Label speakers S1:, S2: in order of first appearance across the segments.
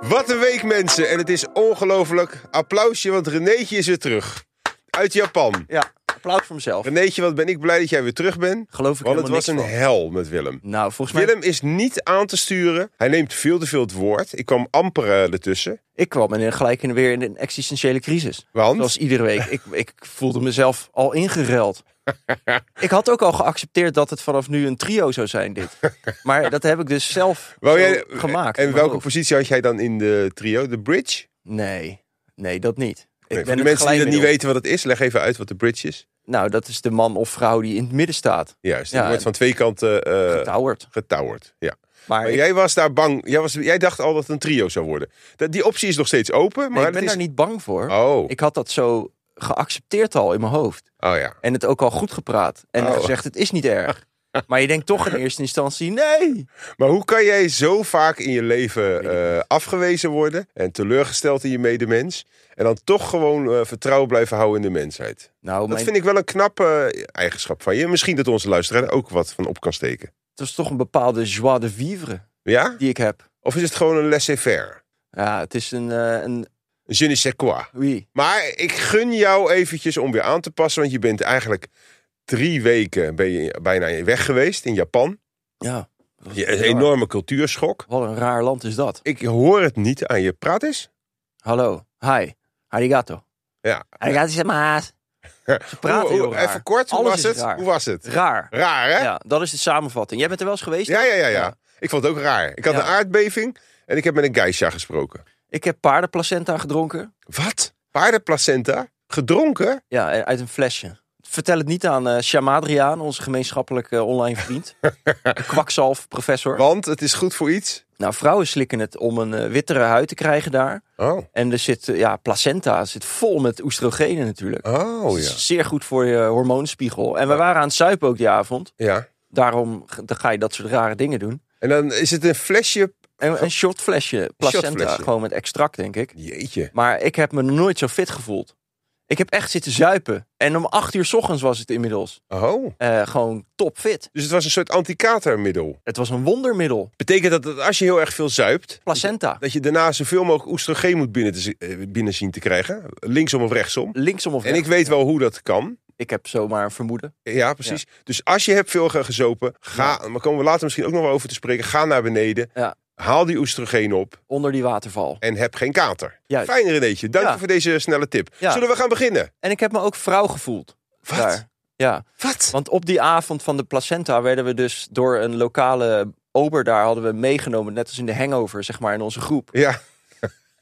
S1: Wat een week, mensen. En het is ongelooflijk. Applausje, want Renéetje is weer terug. Uit Japan.
S2: Ja, applaus voor mezelf.
S1: Renéetje, wat ben ik blij dat jij weer terug bent.
S2: Geloof ik
S1: Want het
S2: helemaal
S1: was een
S2: niks van.
S1: hel met Willem.
S2: Nou, volgens mij...
S1: Willem is niet aan te sturen. Hij neemt veel te veel het woord. Ik kwam amper eh, ertussen.
S2: Ik kwam in, gelijk in, weer in een existentiële crisis.
S1: Want?
S2: Zoals iedere week. Ik, ik voelde mezelf al ingereld. ik had ook al geaccepteerd dat het vanaf nu een trio zou zijn, dit. Maar dat heb ik dus zelf
S1: Wou
S2: zo
S1: jij-
S2: gemaakt.
S1: En
S2: Maar
S1: welke
S2: goed.
S1: positie had jij dan in de trio? De bridge?
S2: Nee, nee, dat niet. Ik
S1: Nee,
S2: ben
S1: voor de
S2: het
S1: mensen die dat niet
S2: glijmiddel.
S1: weten wat het is, leg even uit wat de bridge is.
S2: Nou, dat is de man of vrouw die in het midden staat.
S1: Juist,
S2: Ja,
S1: het wordt
S2: en-
S1: van twee kanten eh,
S2: Getouwerd.
S1: getouwerd. Ja.
S2: Maar,
S1: Maar
S2: ik,
S1: jij was daar bang. Jij, was, jij dacht al dat het een trio zou worden. Dat, die optie is nog steeds open. Maar
S2: nee, ik
S1: het
S2: ben
S1: is...
S2: daar niet bang voor.
S1: Oh,
S2: Ik had dat zo geaccepteerd al in mijn hoofd.
S1: oh ja.
S2: En het ook al goed gepraat. En
S1: Oh.
S2: gezegd, het is niet erg. Maar je denkt toch in eerste instantie, nee.
S1: Maar hoe kan jij zo vaak in je leven
S2: ik
S1: eh, afgewezen worden en teleurgesteld in je medemens en dan toch gewoon eh, vertrouwen blijven houden in de mensheid?
S2: Nou,
S1: Dat
S2: mijn,
S1: vind ik wel een knappe eh, eigenschap van je. Misschien dat onze luisteraar er ook wat van op kan steken.
S2: het is toch een bepaalde joie de vivre
S1: Ja?
S2: die ik heb.
S1: Of is het gewoon een laissez-faire?
S2: Ja, het is een... eh, een
S1: Een je ne sais quoi.
S2: oui.
S1: Maar ik gun jou eventjes om weer aan te passen, want je bent eigenlijk drie weken ben je bijna weg geweest in Japan.
S2: Ja. dat was
S1: Je-
S2: heel
S1: Een
S2: raar.
S1: enorme cultuurschok.
S2: Wat een raar land is dat.
S1: Ik hoor het niet aan je. Praat eens.
S2: Hallo. Hi. Arigato.
S1: Ja.
S2: Arigato is maas. Ze praten
S1: Hoe- hoe-
S2: heel raar.
S1: Even kort, hoe
S2: Alles
S1: was
S2: is
S1: het?
S2: raar.
S1: Hoe was het?
S2: Raar.
S1: Raar, hè?
S2: Ja, dat is de samenvatting. Jij bent er wel eens geweest?
S1: Ja, ja, ja,
S2: Ja.
S1: ja. Ik vond het ook raar. Ik had
S2: Ja.
S1: een aardbeving en ik heb met een geisha gesproken.
S2: Ik heb paardenplacenta gedronken.
S1: Wat? Paardenplacenta? Gedronken?
S2: Ja, eh, uit een flesje. Vertel het niet aan eh Sjaam Adriaan, onze gemeenschappelijke eh, online vriend. Kwakzalf, professor.
S1: Want het is goed voor iets.
S2: Nou, vrouwen slikken het om een eh, wittere huid te krijgen daar.
S1: Oh,
S2: En er zit, eh, ja, placenta zit vol met oestrogenen natuurlijk.
S1: oh
S2: Dus
S1: ja.
S2: het is Zeer goed voor je eh, hormoonspiegel. En we waren aan het zuipen ook die avond.
S1: ja.
S2: Daarom g- dan ga je dat soort rare dingen doen.
S1: En dan is het een flesje.
S2: En een shotflesje placenta,
S1: shotflesje.
S2: gewoon met extract, denk ik.
S1: Jeetje.
S2: Maar ik heb me nooit zo fit gevoeld. Ik heb echt zitten zuipen. En om acht uur 's ochtends was het inmiddels.
S1: Oh.
S2: eh, gewoon topfit.
S1: Dus het was een soort anticatermiddel.
S2: Het was een wondermiddel.
S1: Betekent dat, dat als je heel erg veel zuipt,
S2: Placenta.
S1: dat je daarna zoveel mogelijk oestrogeen moet binnen, te, zi- eh, binnen zien te krijgen? Linksom of rechtsom?
S2: Linksom of
S1: En ik
S2: rechts.
S1: weet wel hoe dat kan.
S2: Ik heb zomaar een vermoeden.
S1: Ja, precies. Dus als je hebt veel ge- gezopen, ga, maar komen we later misschien ook nog wel over te spreken. Ga naar beneden,
S2: Ja.
S1: haal die oestrogeen op
S2: Onder die waterval.
S1: en heb geen kater.
S2: Juist.
S1: Fijn Renéetje, dank
S2: Ja.
S1: je voor deze snelle tip.
S2: Ja.
S1: Zullen we gaan beginnen?
S2: En ik heb me ook vrouw gevoeld.
S1: Wat?
S2: Daar. Ja,
S1: Wat?
S2: want op die avond van de placenta werden we dus door een lokale ober daar hadden we meegenomen, net als in de hangover, zeg maar, in onze groep.
S1: Ja,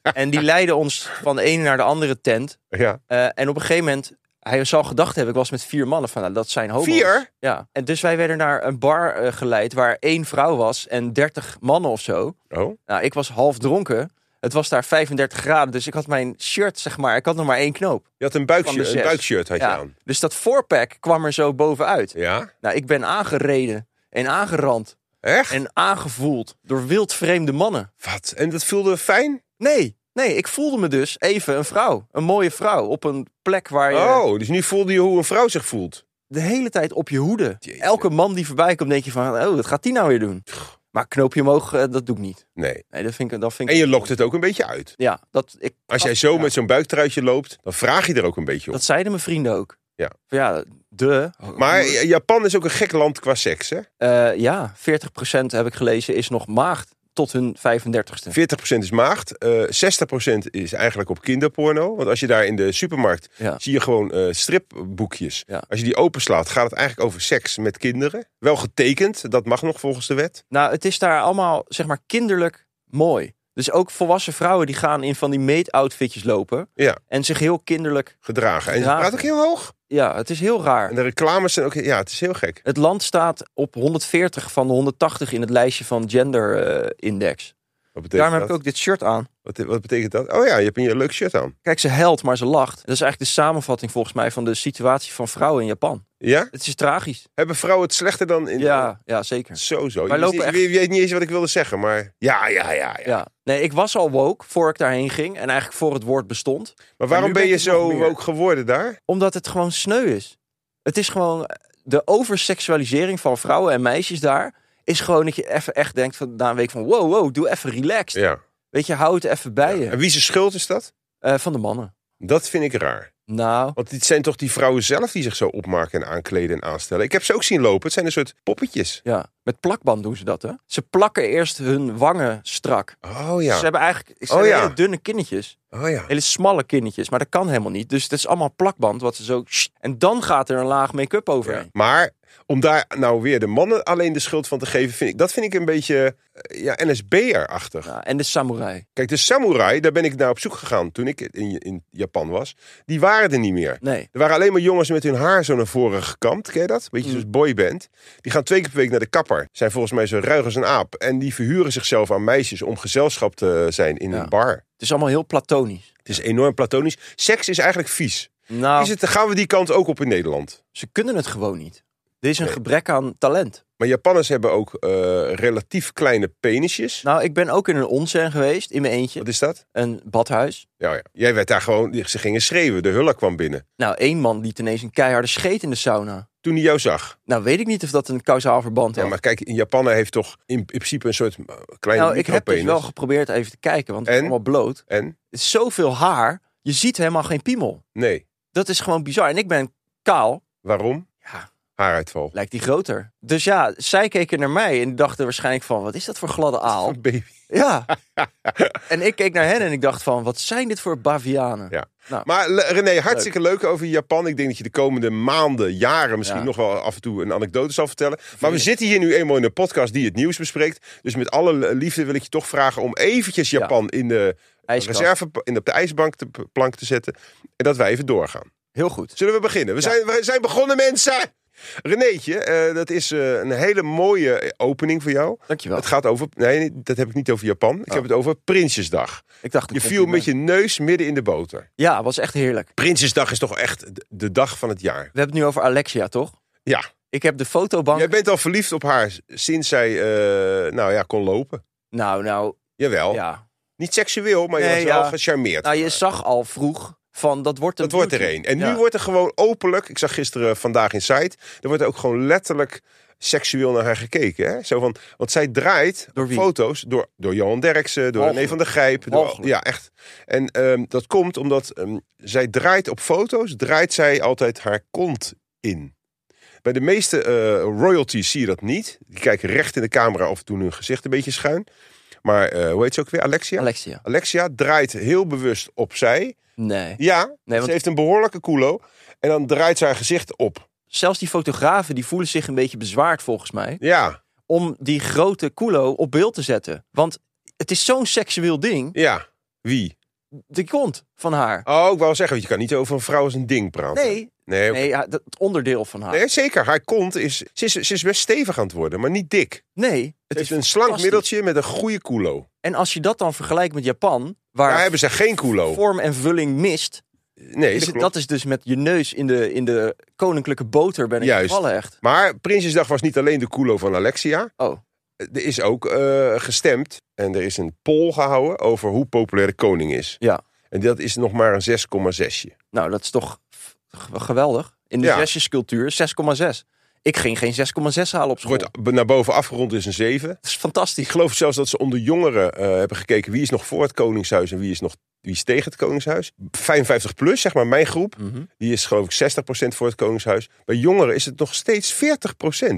S2: En die leidde ons van de ene naar de andere tent.
S1: ja.
S2: Eh, en op een gegeven moment, hij zal gedacht hebben, ik was met vier mannen, van nou, dat zijn homo's.
S1: Vier?
S2: Ja. En dus wij werden naar een bar eh, geleid waar één vrouw was en dertig mannen of zo.
S1: Oh,
S2: Nou, ik was half dronken. Het was daar 35 graden, dus ik had mijn shirt, zeg maar, ik had nog maar één knoop.
S1: je had een,
S2: Van
S1: buikshirt,
S2: de
S1: een
S2: zes.
S1: buikshirt had je
S2: Ja.
S1: aan.
S2: Dus dat voorpack kwam er zo bovenuit.
S1: Ja,
S2: Nou, ik ben aangereden en aangerand
S1: echt?
S2: en aangevoeld door wildvreemde mannen.
S1: Wat? En dat voelde fijn?
S2: Nee, nee, ik voelde me dus even een vrouw. Een mooie vrouw op een plek waar je
S1: Oh, dus nu voelde je hoe een vrouw zich voelt.
S2: de hele tijd op je hoede.
S1: Jeetje.
S2: Elke man die voorbij komt, denk je van, oh, wat gaat die nou weer doen? Maar knoopje omhoog, eh, dat doe ik niet.
S1: Nee.
S2: Nee, dat vind ik... Dat vind ik
S1: En je lokt het ook een beetje uit.
S2: Ja, dat, ik,
S1: Als jij zo
S2: Oh, Ja.
S1: met zo'n buiktruitje loopt, dan vraag je er ook een beetje op.
S2: dat zeiden mijn vrienden ook.
S1: Ja.
S2: Van, ja, de...
S1: Maar Japan is ook een gek land qua seks, hè? 40%
S2: Eh, ja, 40% heb ik gelezen is nog maagd tot hun 35ste.
S1: is maagd, eh 60% is eigenlijk op kinderporno. Want als je daar in de supermarkt,
S2: Ja.
S1: zie je gewoon eh, stripboekjes.
S2: Ja.
S1: Als je die openslaat, gaat het eigenlijk over seks met kinderen. Wel getekend, dat mag nog volgens de wet.
S2: Nou, het is daar allemaal, zeg maar, kinderlijk mooi. Dus ook volwassen vrouwen die gaan in van die meet-outfitjes lopen.
S1: Ja.
S2: En zich heel kinderlijk...
S1: Gedragen. En ze
S2: Gedragen.
S1: praat ook heel hoog.
S2: Ja, het is heel raar.
S1: En de reclames zijn ook... Ja, het is heel gek.
S2: Het land staat op 140 van de 180 in het lijstje van gender eh, index.
S1: Wat betekent
S2: Daarom
S1: Dus dat?
S2: heb ik ook dit shirt aan.
S1: wat, wat betekent dat? Oh ja, je hebt een leuk shirt aan.
S2: Kijk, ze huilt, maar ze lacht. Dat is eigenlijk de samenvatting volgens mij van de situatie van vrouwen in Japan.
S1: Ja?
S2: Het is tragisch.
S1: Hebben vrouwen het slechter dan in...
S2: Ja, ja zeker.
S1: Zo, zo.
S2: Wij
S1: Je wist
S2: lopen
S1: niet- Je weet niet eens wat ik wilde zeggen, maar... Ja, ja, ja. ja.
S2: Ja. Nee, ik was al woke voor ik daarheen ging. En eigenlijk voor het woord bestond.
S1: Maar waarom
S2: nu
S1: ben
S2: ben
S1: je
S2: ik nog
S1: zo
S2: meer.
S1: ook geworden daar?
S2: Omdat het gewoon sneu is. Het is gewoon... De overseksualisering van vrouwen en meisjes daar... is gewoon dat je even echt denkt van, na een week van... wow, wow, doe even relaxed.
S1: Ja.
S2: Weet je, hou het even bij je.
S1: En wie zijn schuld is dat?
S2: Eh, van de mannen.
S1: Dat vind ik raar.
S2: Nou,
S1: Want het zijn toch die vrouwen zelf die zich zo opmaken en aankleden en aanstellen. Ik heb ze ook zien lopen. Het zijn een soort poppetjes.
S2: ja. Met plakband doen ze dat, hè? Ze plakken eerst hun wangen strak.
S1: Oh
S2: Dus
S1: ja.
S2: ze hebben eigenlijk
S1: Oh,
S2: ze hebben
S1: ja.
S2: hele dunne kinnetjes.
S1: Oh ja.
S2: Hele smalle kinnetjes, maar dat kan helemaal niet. Dus het is allemaal plakband, wat ze zo... En dan gaat er een laag make-up
S1: Ja.
S2: overheen.
S1: Maar om daar nou weer de mannen alleen de schuld van te geven, vind ik, dat vind ik een beetje eh, ja, NSB-achtig.
S2: Ja, Nou, en de samurai.
S1: Kijk, de samurai, daar ben ik naar op zoek gegaan toen ik in, in Japan was. Die waren er niet meer.
S2: Nee.
S1: Er waren alleen maar jongens met hun haar zo naar voren gekamd. Ken je dat? Beetje
S2: Mm.
S1: zoals boyband. Die gaan twee keer per week naar de kapper. Zijn volgens mij zo ruig als een aap. En die verhuren zichzelf aan meisjes om gezelschap te zijn in
S2: Ja.
S1: een bar.
S2: Het is allemaal heel platonisch.
S1: Het is enorm platonisch. Seks is eigenlijk vies.
S2: Nou,
S1: Is het, gaan we die kant ook op in Nederland?
S2: ze kunnen het gewoon niet. Er is een gebrek aan talent.
S1: Maar Japanners hebben ook eh, relatief kleine penisjes.
S2: Nou, ik ben ook in een onsen geweest, in mijn eentje.
S1: Wat is dat?
S2: Een badhuis.
S1: Ja, ja. Jij werd daar gewoon... Ze gingen schreeuwen. De hulk kwam binnen.
S2: Nou, één man liet ineens een keiharde scheet in de sauna.
S1: Toen hij jou zag.
S2: Nou, weet ik niet of dat een kausaal verband
S1: Ja,
S2: heeft.
S1: maar kijk, in Japan heeft toch in, in principe een soort eh, kleine
S2: nou, ik heb dus
S1: micropenis.
S2: wel geprobeerd even te kijken, want het is
S1: En?
S2: allemaal bloot.
S1: En?
S2: Het is zoveel haar, je ziet helemaal geen piemel.
S1: Nee.
S2: Dat is gewoon bizar. En ik ben kaal,
S1: Waarom?
S2: Ja.
S1: Haaruitval.
S2: lijkt die groter. Dus ja, zij keken naar mij en dachten waarschijnlijk van, wat is dat voor gladde aal?
S1: Een baby.
S2: Ja. en ik keek naar hen en ik dacht van, wat zijn dit voor bavianen?
S1: Ja.
S2: Nou.
S1: Maar Le- René, hartstikke leuk. over Japan. Ik denk dat je de komende maanden, jaren misschien
S2: Ja.
S1: nog wel af en toe een anekdote zal vertellen. Maar we zitten hier nu eenmaal in een podcast die het nieuws bespreekt. Dus met alle le- liefde wil ik je toch vragen om eventjes
S2: Ja.
S1: Japan in de
S2: IJskast.
S1: reserve, in de, op de ijsbank te, plank te zetten. En dat wij even doorgaan.
S2: Heel goed.
S1: Zullen we beginnen? We,
S2: Ja.
S1: zijn, we zijn begonnen, mensen! Renéetje, eh, dat is eh, een hele mooie eh, opening voor jou.
S2: Dankjewel.
S1: Het gaat over. Nee, nee, dat heb ik niet over Japan. Ik
S2: Oh.
S1: heb het over Prinsjesdag.
S2: Ik dacht,
S1: Je viel met je neus midden in de boter.
S2: Ja, was echt heerlijk.
S1: Prinsjesdag is toch echt de- de dag van het jaar?
S2: We hebben het nu over Alexia, toch?
S1: Ja.
S2: Ik heb de fotobank...
S1: Jij bent al verliefd op haar s- sinds zij, eh, nou ja, kon lopen.
S2: Nou, nou,
S1: Jawel.
S2: ja.
S1: Niet seksueel, maar je was
S2: Nee, ja.
S1: wel gecharmeerd.
S2: Nou, je zag al vroeg van, dat wordt een
S1: dat wordt er
S2: beauty.
S1: één. En
S2: Ja.
S1: nu wordt er gewoon openlijk, ik zag gisteren eh, vandaag in site, er wordt ook gewoon letterlijk seksueel naar haar gekeken. Hè? Zo van, want zij draait
S2: Door wie?
S1: foto's door, door Johan Derksen, door René
S2: Walgelijk.
S1: van der Gijp. Door,
S2: Walgelijk.
S1: ja, echt. En ehm, dat komt omdat ehm, zij draait op foto's, draait zij altijd haar kont in. Bij de meeste eh, royalties zie je dat niet. Die kijken recht in de camera of doen hun gezicht een beetje schuin. Maar eh, hoe heet ze ook weer? Alexia?
S2: Alexia.
S1: Alexia draait heel bewust opzij.
S2: Nee.
S1: Ja,
S2: want-
S1: ze heeft een behoorlijke culo. En dan draait ze haar gezicht op.
S2: Zelfs die fotografen, die voelen zich een beetje bezwaard, volgens mij.
S1: Ja,
S2: Om die grote culo op beeld te zetten. Want het is zo'n seksueel ding.
S1: ja. Wie?
S2: De kont van haar.
S1: Oh, ik wou zeggen, want je kan niet over een vrouw als een ding praten.
S2: Nee,
S1: Nee,
S2: nee ja, dat- het onderdeel van haar.
S1: nee, zeker. Haar kont is ze, is... ze is best stevig aan het worden, maar niet dik.
S2: Nee,
S1: Het
S2: het
S1: is
S2: is
S1: een slank
S2: fantastisch.
S1: middeltje met een goede culo.
S2: En als je dat dan vergelijkt met Japan, waar
S1: Daar hebben ze geen culo.
S2: vorm en vulling mist,
S1: Nee,
S2: is
S1: dat
S2: het-
S1: klopt.
S2: dat is dus met je neus in de, in de koninklijke boter ben ik
S1: Juist.
S2: gevallen echt.
S1: Maar Prinsjesdag was niet alleen de culo van Alexia.
S2: Oh,
S1: Er is ook eh, gestemd en er is een poll gehouden over hoe populair de koning is.
S2: ja.
S1: En dat is nog maar een 6,6.
S2: Nou, dat is toch f- g- geweldig. In de
S1: Ja.
S2: zesjescultuur 6,6. Ik ging geen 6,6 halen op school.
S1: Wordt naar boven afgerond is een 7.
S2: Dat is
S1: Ik
S2: fantastisch.
S1: geloof zelfs dat ze onder jongeren eh, hebben gekeken wie is nog voor het Koningshuis en wie is nog wie is tegen het Koningshuis. 55 plus, zeg maar, mijn groep,
S2: Mhm.
S1: die is geloof ik 60% voor het Koningshuis. Bij jongeren is het nog steeds 40%.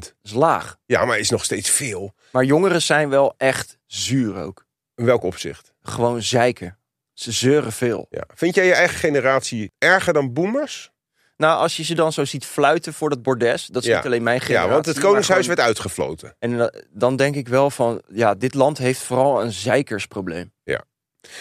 S2: Dat is laag.
S1: Ja, maar is nog steeds veel.
S2: Maar jongeren zijn wel echt zuur ook.
S1: In welk opzicht?
S2: Gewoon zeiken. Ze zeuren veel.
S1: Ja. Vind jij je eigen generatie erger dan boomers?
S2: Nou, als je ze dan zo ziet fluiten voor dat bordes, dat is
S1: Ja.
S2: niet alleen mijn generatie.
S1: ja, want het
S2: maar
S1: Koningshuis
S2: gewoon-
S1: werd uitgefloten.
S2: En da- dan denk ik wel van, ja, dit land heeft vooral een zeikersprobleem.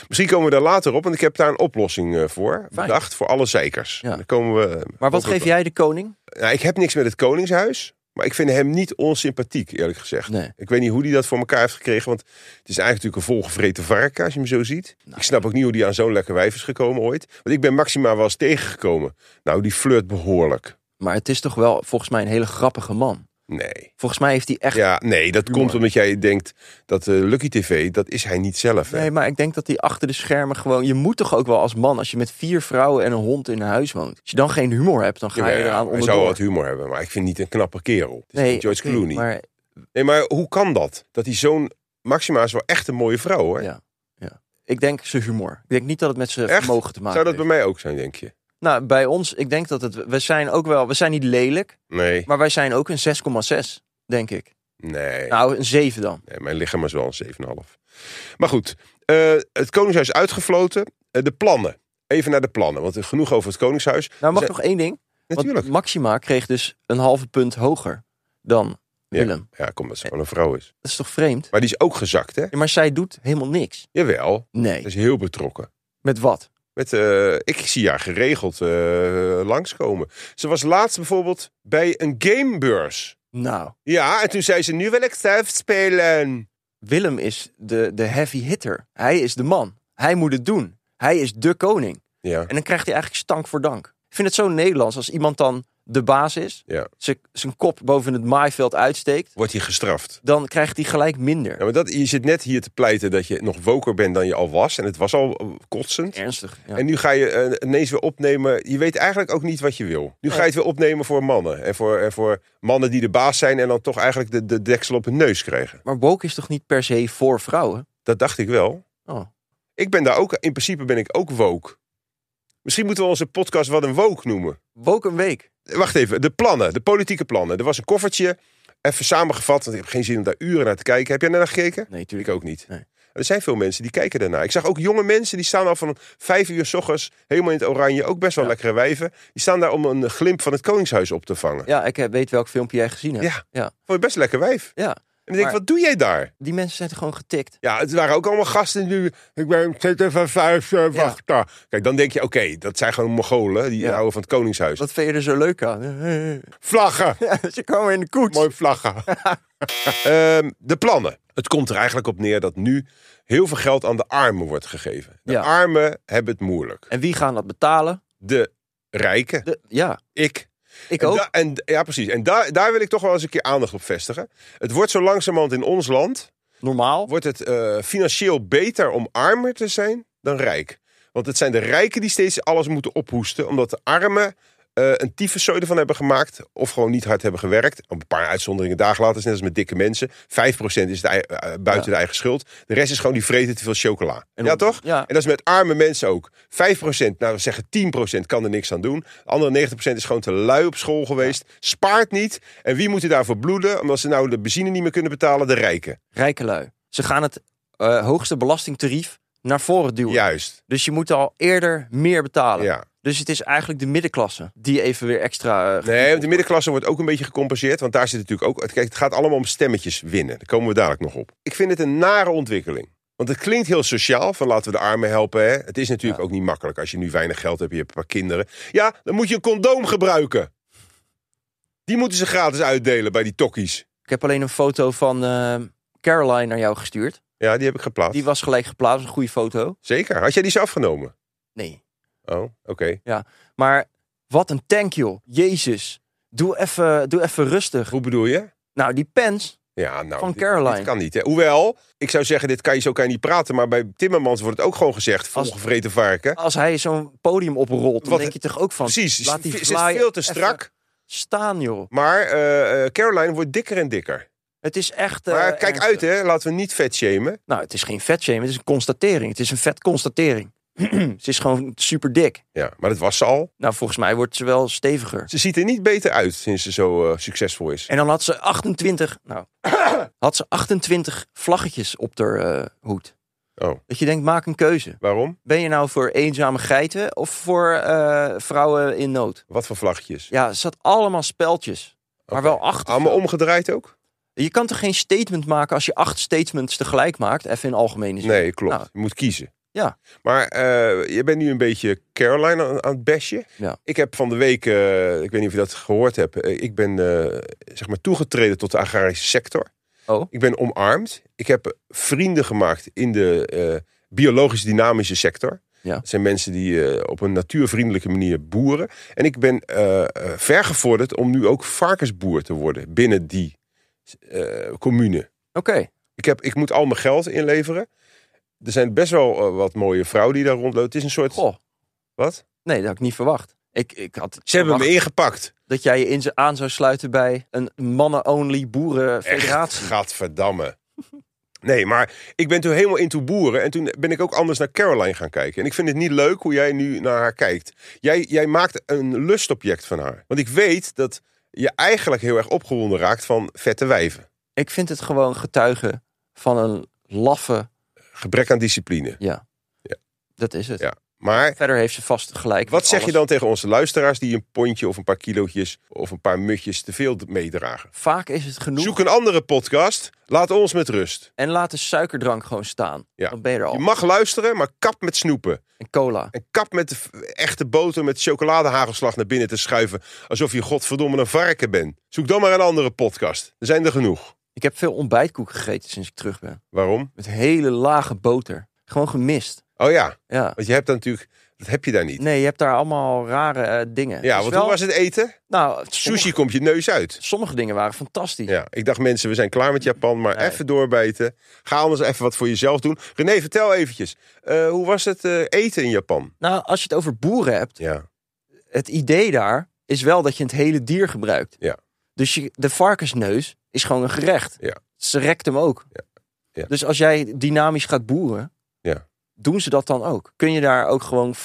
S1: Misschien komen we daar later op, want ik heb daar een oplossing eh, voor.
S2: Fijn.
S1: Bedacht voor alle zeikers.
S2: Ja.
S1: Dan komen we,
S2: Maar wat geef jij de koning?
S1: Nou, ik heb niks met het Koningshuis. Maar ik vind hem niet onsympathiek, eerlijk gezegd.
S2: Nee.
S1: Ik weet niet hoe hij dat voor elkaar heeft gekregen. Want het is eigenlijk natuurlijk een volgevreten varken als je hem zo ziet.
S2: Nou.
S1: Ik snap ook niet hoe die aan zo'n lekker wijf is gekomen ooit. Want ik ben Maxima wel eens tegengekomen. Nou, die flirt behoorlijk.
S2: Maar het is toch wel volgens mij een hele grappige man.
S1: Nee.
S2: Volgens mij heeft hij echt...
S1: Ja, nee, dat komt omdat jij denkt dat eh, Lucky TV, dat is hij niet zelf. Hè?
S2: Nee, maar ik denk dat hij achter de schermen gewoon... Je moet toch ook wel als man, als je met vier vrouwen en een hond in een huis woont. Als je dan geen humor hebt, dan ga je
S1: Jawel,
S2: eraan
S1: hij zou wel
S2: onderdoor.
S1: wat humor hebben, maar ik vind niet een knappe kerel. Het is niet George
S2: oké,
S1: Clooney.
S2: Maar
S1: Nee, maar hoe kan dat? Dat hij zo'n... Maxima is wel echt een mooie vrouw, hoor.
S2: Ja, ja. Ik denk zijn humor. Ik denk niet dat het met zijn
S1: Echt?
S2: vermogen te maken
S1: Zou dat bij
S2: heeft.
S1: mij ook zijn, denk je?
S2: Nou, bij ons, ik denk dat het... We zijn ook wel... We zijn niet lelijk,
S1: Nee,
S2: maar wij zijn ook een 6,6, denk ik.
S1: nee.
S2: Nou, een 7 dan.
S1: nee mijn lichaam is wel een 7,5. Maar goed, eh, het Koningshuis is uitgefloten. Eh, de plannen. Even naar de plannen, want eh, genoeg over het Koningshuis.
S2: Nou, mag
S1: Ze-
S2: nog één ding?
S1: Natuurlijk.
S2: Want Maxima kreeg dus een halve punt hoger dan Willem.
S1: Ja, kom, dat ze gewoon een vrouw is.
S2: Dat is toch vreemd?
S1: Maar die is ook gezakt, hè?
S2: Ja, maar zij doet helemaal niks.
S1: Jawel,
S2: Nee.
S1: ze is heel betrokken.
S2: Met wat?
S1: Met, eh, ik zie haar geregeld eh, langskomen. Ze was laatst bijvoorbeeld bij een gamebeurs.
S2: Nou,
S1: Ja, en toen zei ze, nu wil ik zelf spelen.
S2: Willem is de, de heavy hitter. Hij is de man. Hij moet het doen. Hij is de koning.
S1: Ja,
S2: En dan krijgt hij eigenlijk stank voor dank. Ik vind het zo Nederlands als iemand dan de baas is,
S1: ja.
S2: zijn- zijn kop boven het maaiveld uitsteekt,
S1: Wordt hij gestraft.
S2: dan krijgt hij gelijk minder.
S1: Ja, maar dat, je zit net hier te pleiten dat je nog woker bent dan je al was. En het was al eh, kotsend.
S2: Ernstig. Ja.
S1: En nu ga je eh, ineens weer opnemen. Je weet eigenlijk ook niet wat je wil. Nu ga je het weer opnemen voor mannen. En voor, en voor mannen die de baas zijn en dan toch eigenlijk de, de deksel op hun neus krijgen.
S2: Maar woke is toch niet per se voor vrouwen?
S1: Dat dacht ik wel.
S2: Oh.
S1: Ik ben daar ook, in principe ben ik ook woke. Misschien moeten we onze podcast wat een woke noemen.
S2: Woke een week.
S1: Wacht even, de plannen, de politieke plannen. Er was een koffertje, even samengevat, want ik heb geen zin om daar uren naar te kijken. Heb jij naar gekeken?
S2: Nee,
S1: Ik
S2: natuurlijk.
S1: ook niet.
S2: Nee.
S1: Er zijn veel mensen die kijken daarna. Ik zag ook jonge mensen, die staan al van vijf uur s ochtends, helemaal in het oranje, ook best wel
S2: Ja.
S1: lekkere wijven. Die staan daar om een glimp van het Koningshuis op te vangen.
S2: Ja, ik eh, weet welk filmpje jij gezien hebt.
S1: Ja.
S2: ja.
S1: Vond je best een lekker wijf.
S2: ja.
S1: En dan denk ik,
S2: Maar-
S1: wat doe jij daar?
S2: Die mensen zijn toch gewoon getikt.
S1: Ja, het waren ook allemaal gasten die... Ik ben zitten van vijf, eh, wacht daar. Kijk, dan denk je, oké, dat zijn gewoon Mongolen. Die
S2: Ja.
S1: houden van het Koningshuis.
S2: Wat vind je er zo leuk aan?
S1: Vlaggen!
S2: Ze komen in de koets.
S1: Mooi vlaggen. Ehm, de plannen. Het komt er eigenlijk op neer dat nu heel veel geld aan de armen wordt gegeven. De
S2: Ja.
S1: armen hebben het moeilijk.
S2: En wie gaan dat betalen?
S1: De rijken,
S2: De, ja,
S1: ik.
S2: ik
S1: en
S2: ook.
S1: da- en, ja, precies. En daar daar wil ik toch wel eens een keer aandacht op vestigen. Het wordt zo langzamerhand in ons land...
S2: Normaal.
S1: wordt het eh, financieel beter om armer te zijn dan rijk. Want het zijn de rijken die steeds alles moeten ophoesten, omdat de armen eh een tyfuszooi ervan hebben gemaakt of gewoon niet hard hebben gewerkt. Een paar uitzonderingen dagen later, is net als met dikke mensen. 5% is de, ei- eh, buiten
S2: Ja.
S1: de eigen schuld. De rest is gewoon die vreten te veel chocola.
S2: En
S1: ja,
S2: om-
S1: toch?
S2: ja.
S1: En dat is met arme mensen ook. 5%, nou we zeggen 10% kan er niks aan doen. De andere 90% is gewoon te lui op school geweest. Spaart niet. En wie moet er daarvoor bloeden? Omdat ze nou de benzine niet meer kunnen betalen, de rijken.
S2: Rijke lui. Ze gaan het eh, hoogste belastingtarief naar voren duwen.
S1: Juist.
S2: Dus je moet al eerder meer betalen.
S1: Ja.
S2: Dus het is eigenlijk de middenklasse die even weer extra... eh,
S1: Nee, want de middenklasse wordt ook een beetje gecompenseerd. Want daar zit natuurlijk ook. Kijk, het gaat allemaal om stemmetjes winnen. Daar komen we dadelijk nog op. Ik vind het een nare ontwikkeling. Want het klinkt heel sociaal, van laten we de armen helpen. Hè? Het is natuurlijk ook niet makkelijk als je nu weinig geld hebt, je hebt een paar kinderen. Ja, dan moet je een condoom gebruiken. Die moeten ze gratis uitdelen bij die tokkies.
S2: Ik heb alleen een foto van eh, Caroline naar jou gestuurd.
S1: Ja, die heb ik geplaatst.
S2: Die was gelijk geplaatst, een goede foto.
S1: Zeker. Had jij die zo afgenomen?
S2: Nee.
S1: Oh, oké.
S2: Maar wat een tank, joh. Jezus. Doe even doe even rustig.
S1: Hoe bedoel je?
S2: Nou, die pens,
S1: Ja, nou,
S2: Van
S1: dit-
S2: Caroline.
S1: dit kan niet. Hè? Hoewel, ik zou zeggen, dit kan je zo kan je niet praten. Maar bij Timmermans wordt het ook gewoon gezegd,
S2: Als-
S1: volgevreten varken.
S2: als hij zo'n podium oprolt, dan
S1: Wat-
S2: denk je toch ook van...
S1: Precies,
S2: laat die
S1: het zit
S2: vlaai
S1: veel te
S2: even
S1: strak.
S2: Staan, joh.
S1: Maar eh, eh, Caroline wordt dikker en dikker.
S2: Het is echt... eh,
S1: Maar kijk
S2: ernstig.
S1: uit, hè. Laten we niet vet shamen.
S2: Nou, het is geen vetshaming, het is een constatering. Het is een vet constatering. ze is gewoon super dik.
S1: Ja, maar dat was ze al.
S2: Nou, volgens mij wordt ze wel steviger.
S1: Ze ziet er niet beter uit sinds ze zo eh, succesvol is.
S2: En dan had ze 28... Nou, had ze 28 vlaggetjes op haar eh, hoed.
S1: Oh,
S2: Dat je denkt, maak een keuze.
S1: waarom?
S2: Ben je nou voor eenzame geiten of voor eh, vrouwen in nood?
S1: Wat voor vlaggetjes?
S2: Ja, het zat allemaal speltjes. Maar wel acht. of
S1: Allemaal
S2: zo.
S1: omgedraaid ook?
S2: Je kan toch geen statement maken als je acht statements tegelijk maakt? Even in algemene zin.
S1: Nee, klopt.
S2: Nou.
S1: Je moet kiezen.
S2: Ja.
S1: Maar eh, je bent nu een beetje Caroline aan, aan het besje.
S2: Ja.
S1: Ik heb van de week, eh, ik weet niet of je dat gehoord hebt, eh, ik ben eh, zeg maar toegetreden tot de agrarische sector.
S2: Oh.
S1: Ik ben omarmd. Ik heb vrienden gemaakt in de eh biologisch dynamische sector.
S2: Ja.
S1: Dat zijn mensen die eh, op een natuurvriendelijke manier boeren. En ik ben eh, eh, vergevorderd om nu ook varkensboer te worden binnen die eh, commune.
S2: Oké.
S1: Ik, heb, ik moet al mijn geld inleveren. Er zijn best wel eh, wat mooie vrouwen die daar rondlopen. Het is een soort...
S2: Goh.
S1: Wat?
S2: Nee, dat had ik niet verwacht. Ik, ik had
S1: Ze hebben
S2: verwacht
S1: me ingepakt.
S2: dat jij je in ze aan zou sluiten bij een mannen-only
S1: Echt,
S2: boerenfederatie.
S1: gadverdamme. Nee, maar ik ben toen helemaal into boeren. En toen ben ik ook anders naar Caroline gaan kijken. En ik vind het niet leuk hoe jij nu naar haar kijkt. Jij, jij maakt een lustobject van haar. Want ik weet dat je eigenlijk heel erg opgewonden raakt van vette wijven.
S2: Ik vind het gewoon getuigen van een laffe...
S1: Gebrek aan discipline.
S2: Ja.
S1: Ja.
S2: Dat is het.
S1: Ja. Maar
S2: Verder heeft ze vast gelijk.
S1: wat
S2: met
S1: zeg je
S2: alles.
S1: dan tegen onze luisteraars die een pondje of een paar kilootjes of een paar mutjes te veel meedragen?
S2: Vaak is het genoeg.
S1: Zoek een andere podcast. Laat ons met rust.
S2: En laat de suikerdrank gewoon staan.
S1: Ja.
S2: Dan ben je er al.
S1: Je mag luisteren, maar kap met snoepen.
S2: En cola.
S1: En kap met de f- echte boter met chocoladehagelslag naar binnen te schuiven. Alsof je godverdomme een varken bent. Zoek dan maar een andere podcast. Er zijn er genoeg.
S2: Ik heb veel ontbijtkoek gegeten sinds ik terug ben.
S1: Waarom?
S2: Met hele lage boter. Gewoon gemist.
S1: Oh ja,
S2: Ja.
S1: want je hebt dan natuurlijk... Dat heb je daar niet.
S2: Nee, je hebt daar allemaal rare eh, dingen.
S1: ja,
S2: Dus
S1: want
S2: wel-
S1: hoe was het eten?
S2: Nou,
S1: Sushi
S2: sommige,
S1: komt je neus uit.
S2: sommige dingen waren fantastisch.
S1: Ja, ik dacht mensen, we zijn klaar met Japan, maar
S2: Nee.
S1: even doorbijten. Ga anders even wat voor jezelf doen. René, vertel eventjes. eh, hoe was het eh, eten in Japan?
S2: Nou, als je het over boeren hebt,
S1: Ja,
S2: het idee daar is wel dat je het hele dier gebruikt.
S1: Ja.
S2: Dus je, de varkensneus is gewoon een gerecht.
S1: Ja.
S2: Ze rekt hem ook.
S1: Ja.
S2: Dus als jij dynamisch gaat boeren,
S1: Ja.
S2: doen ze dat dan ook? Kun je daar ook gewoon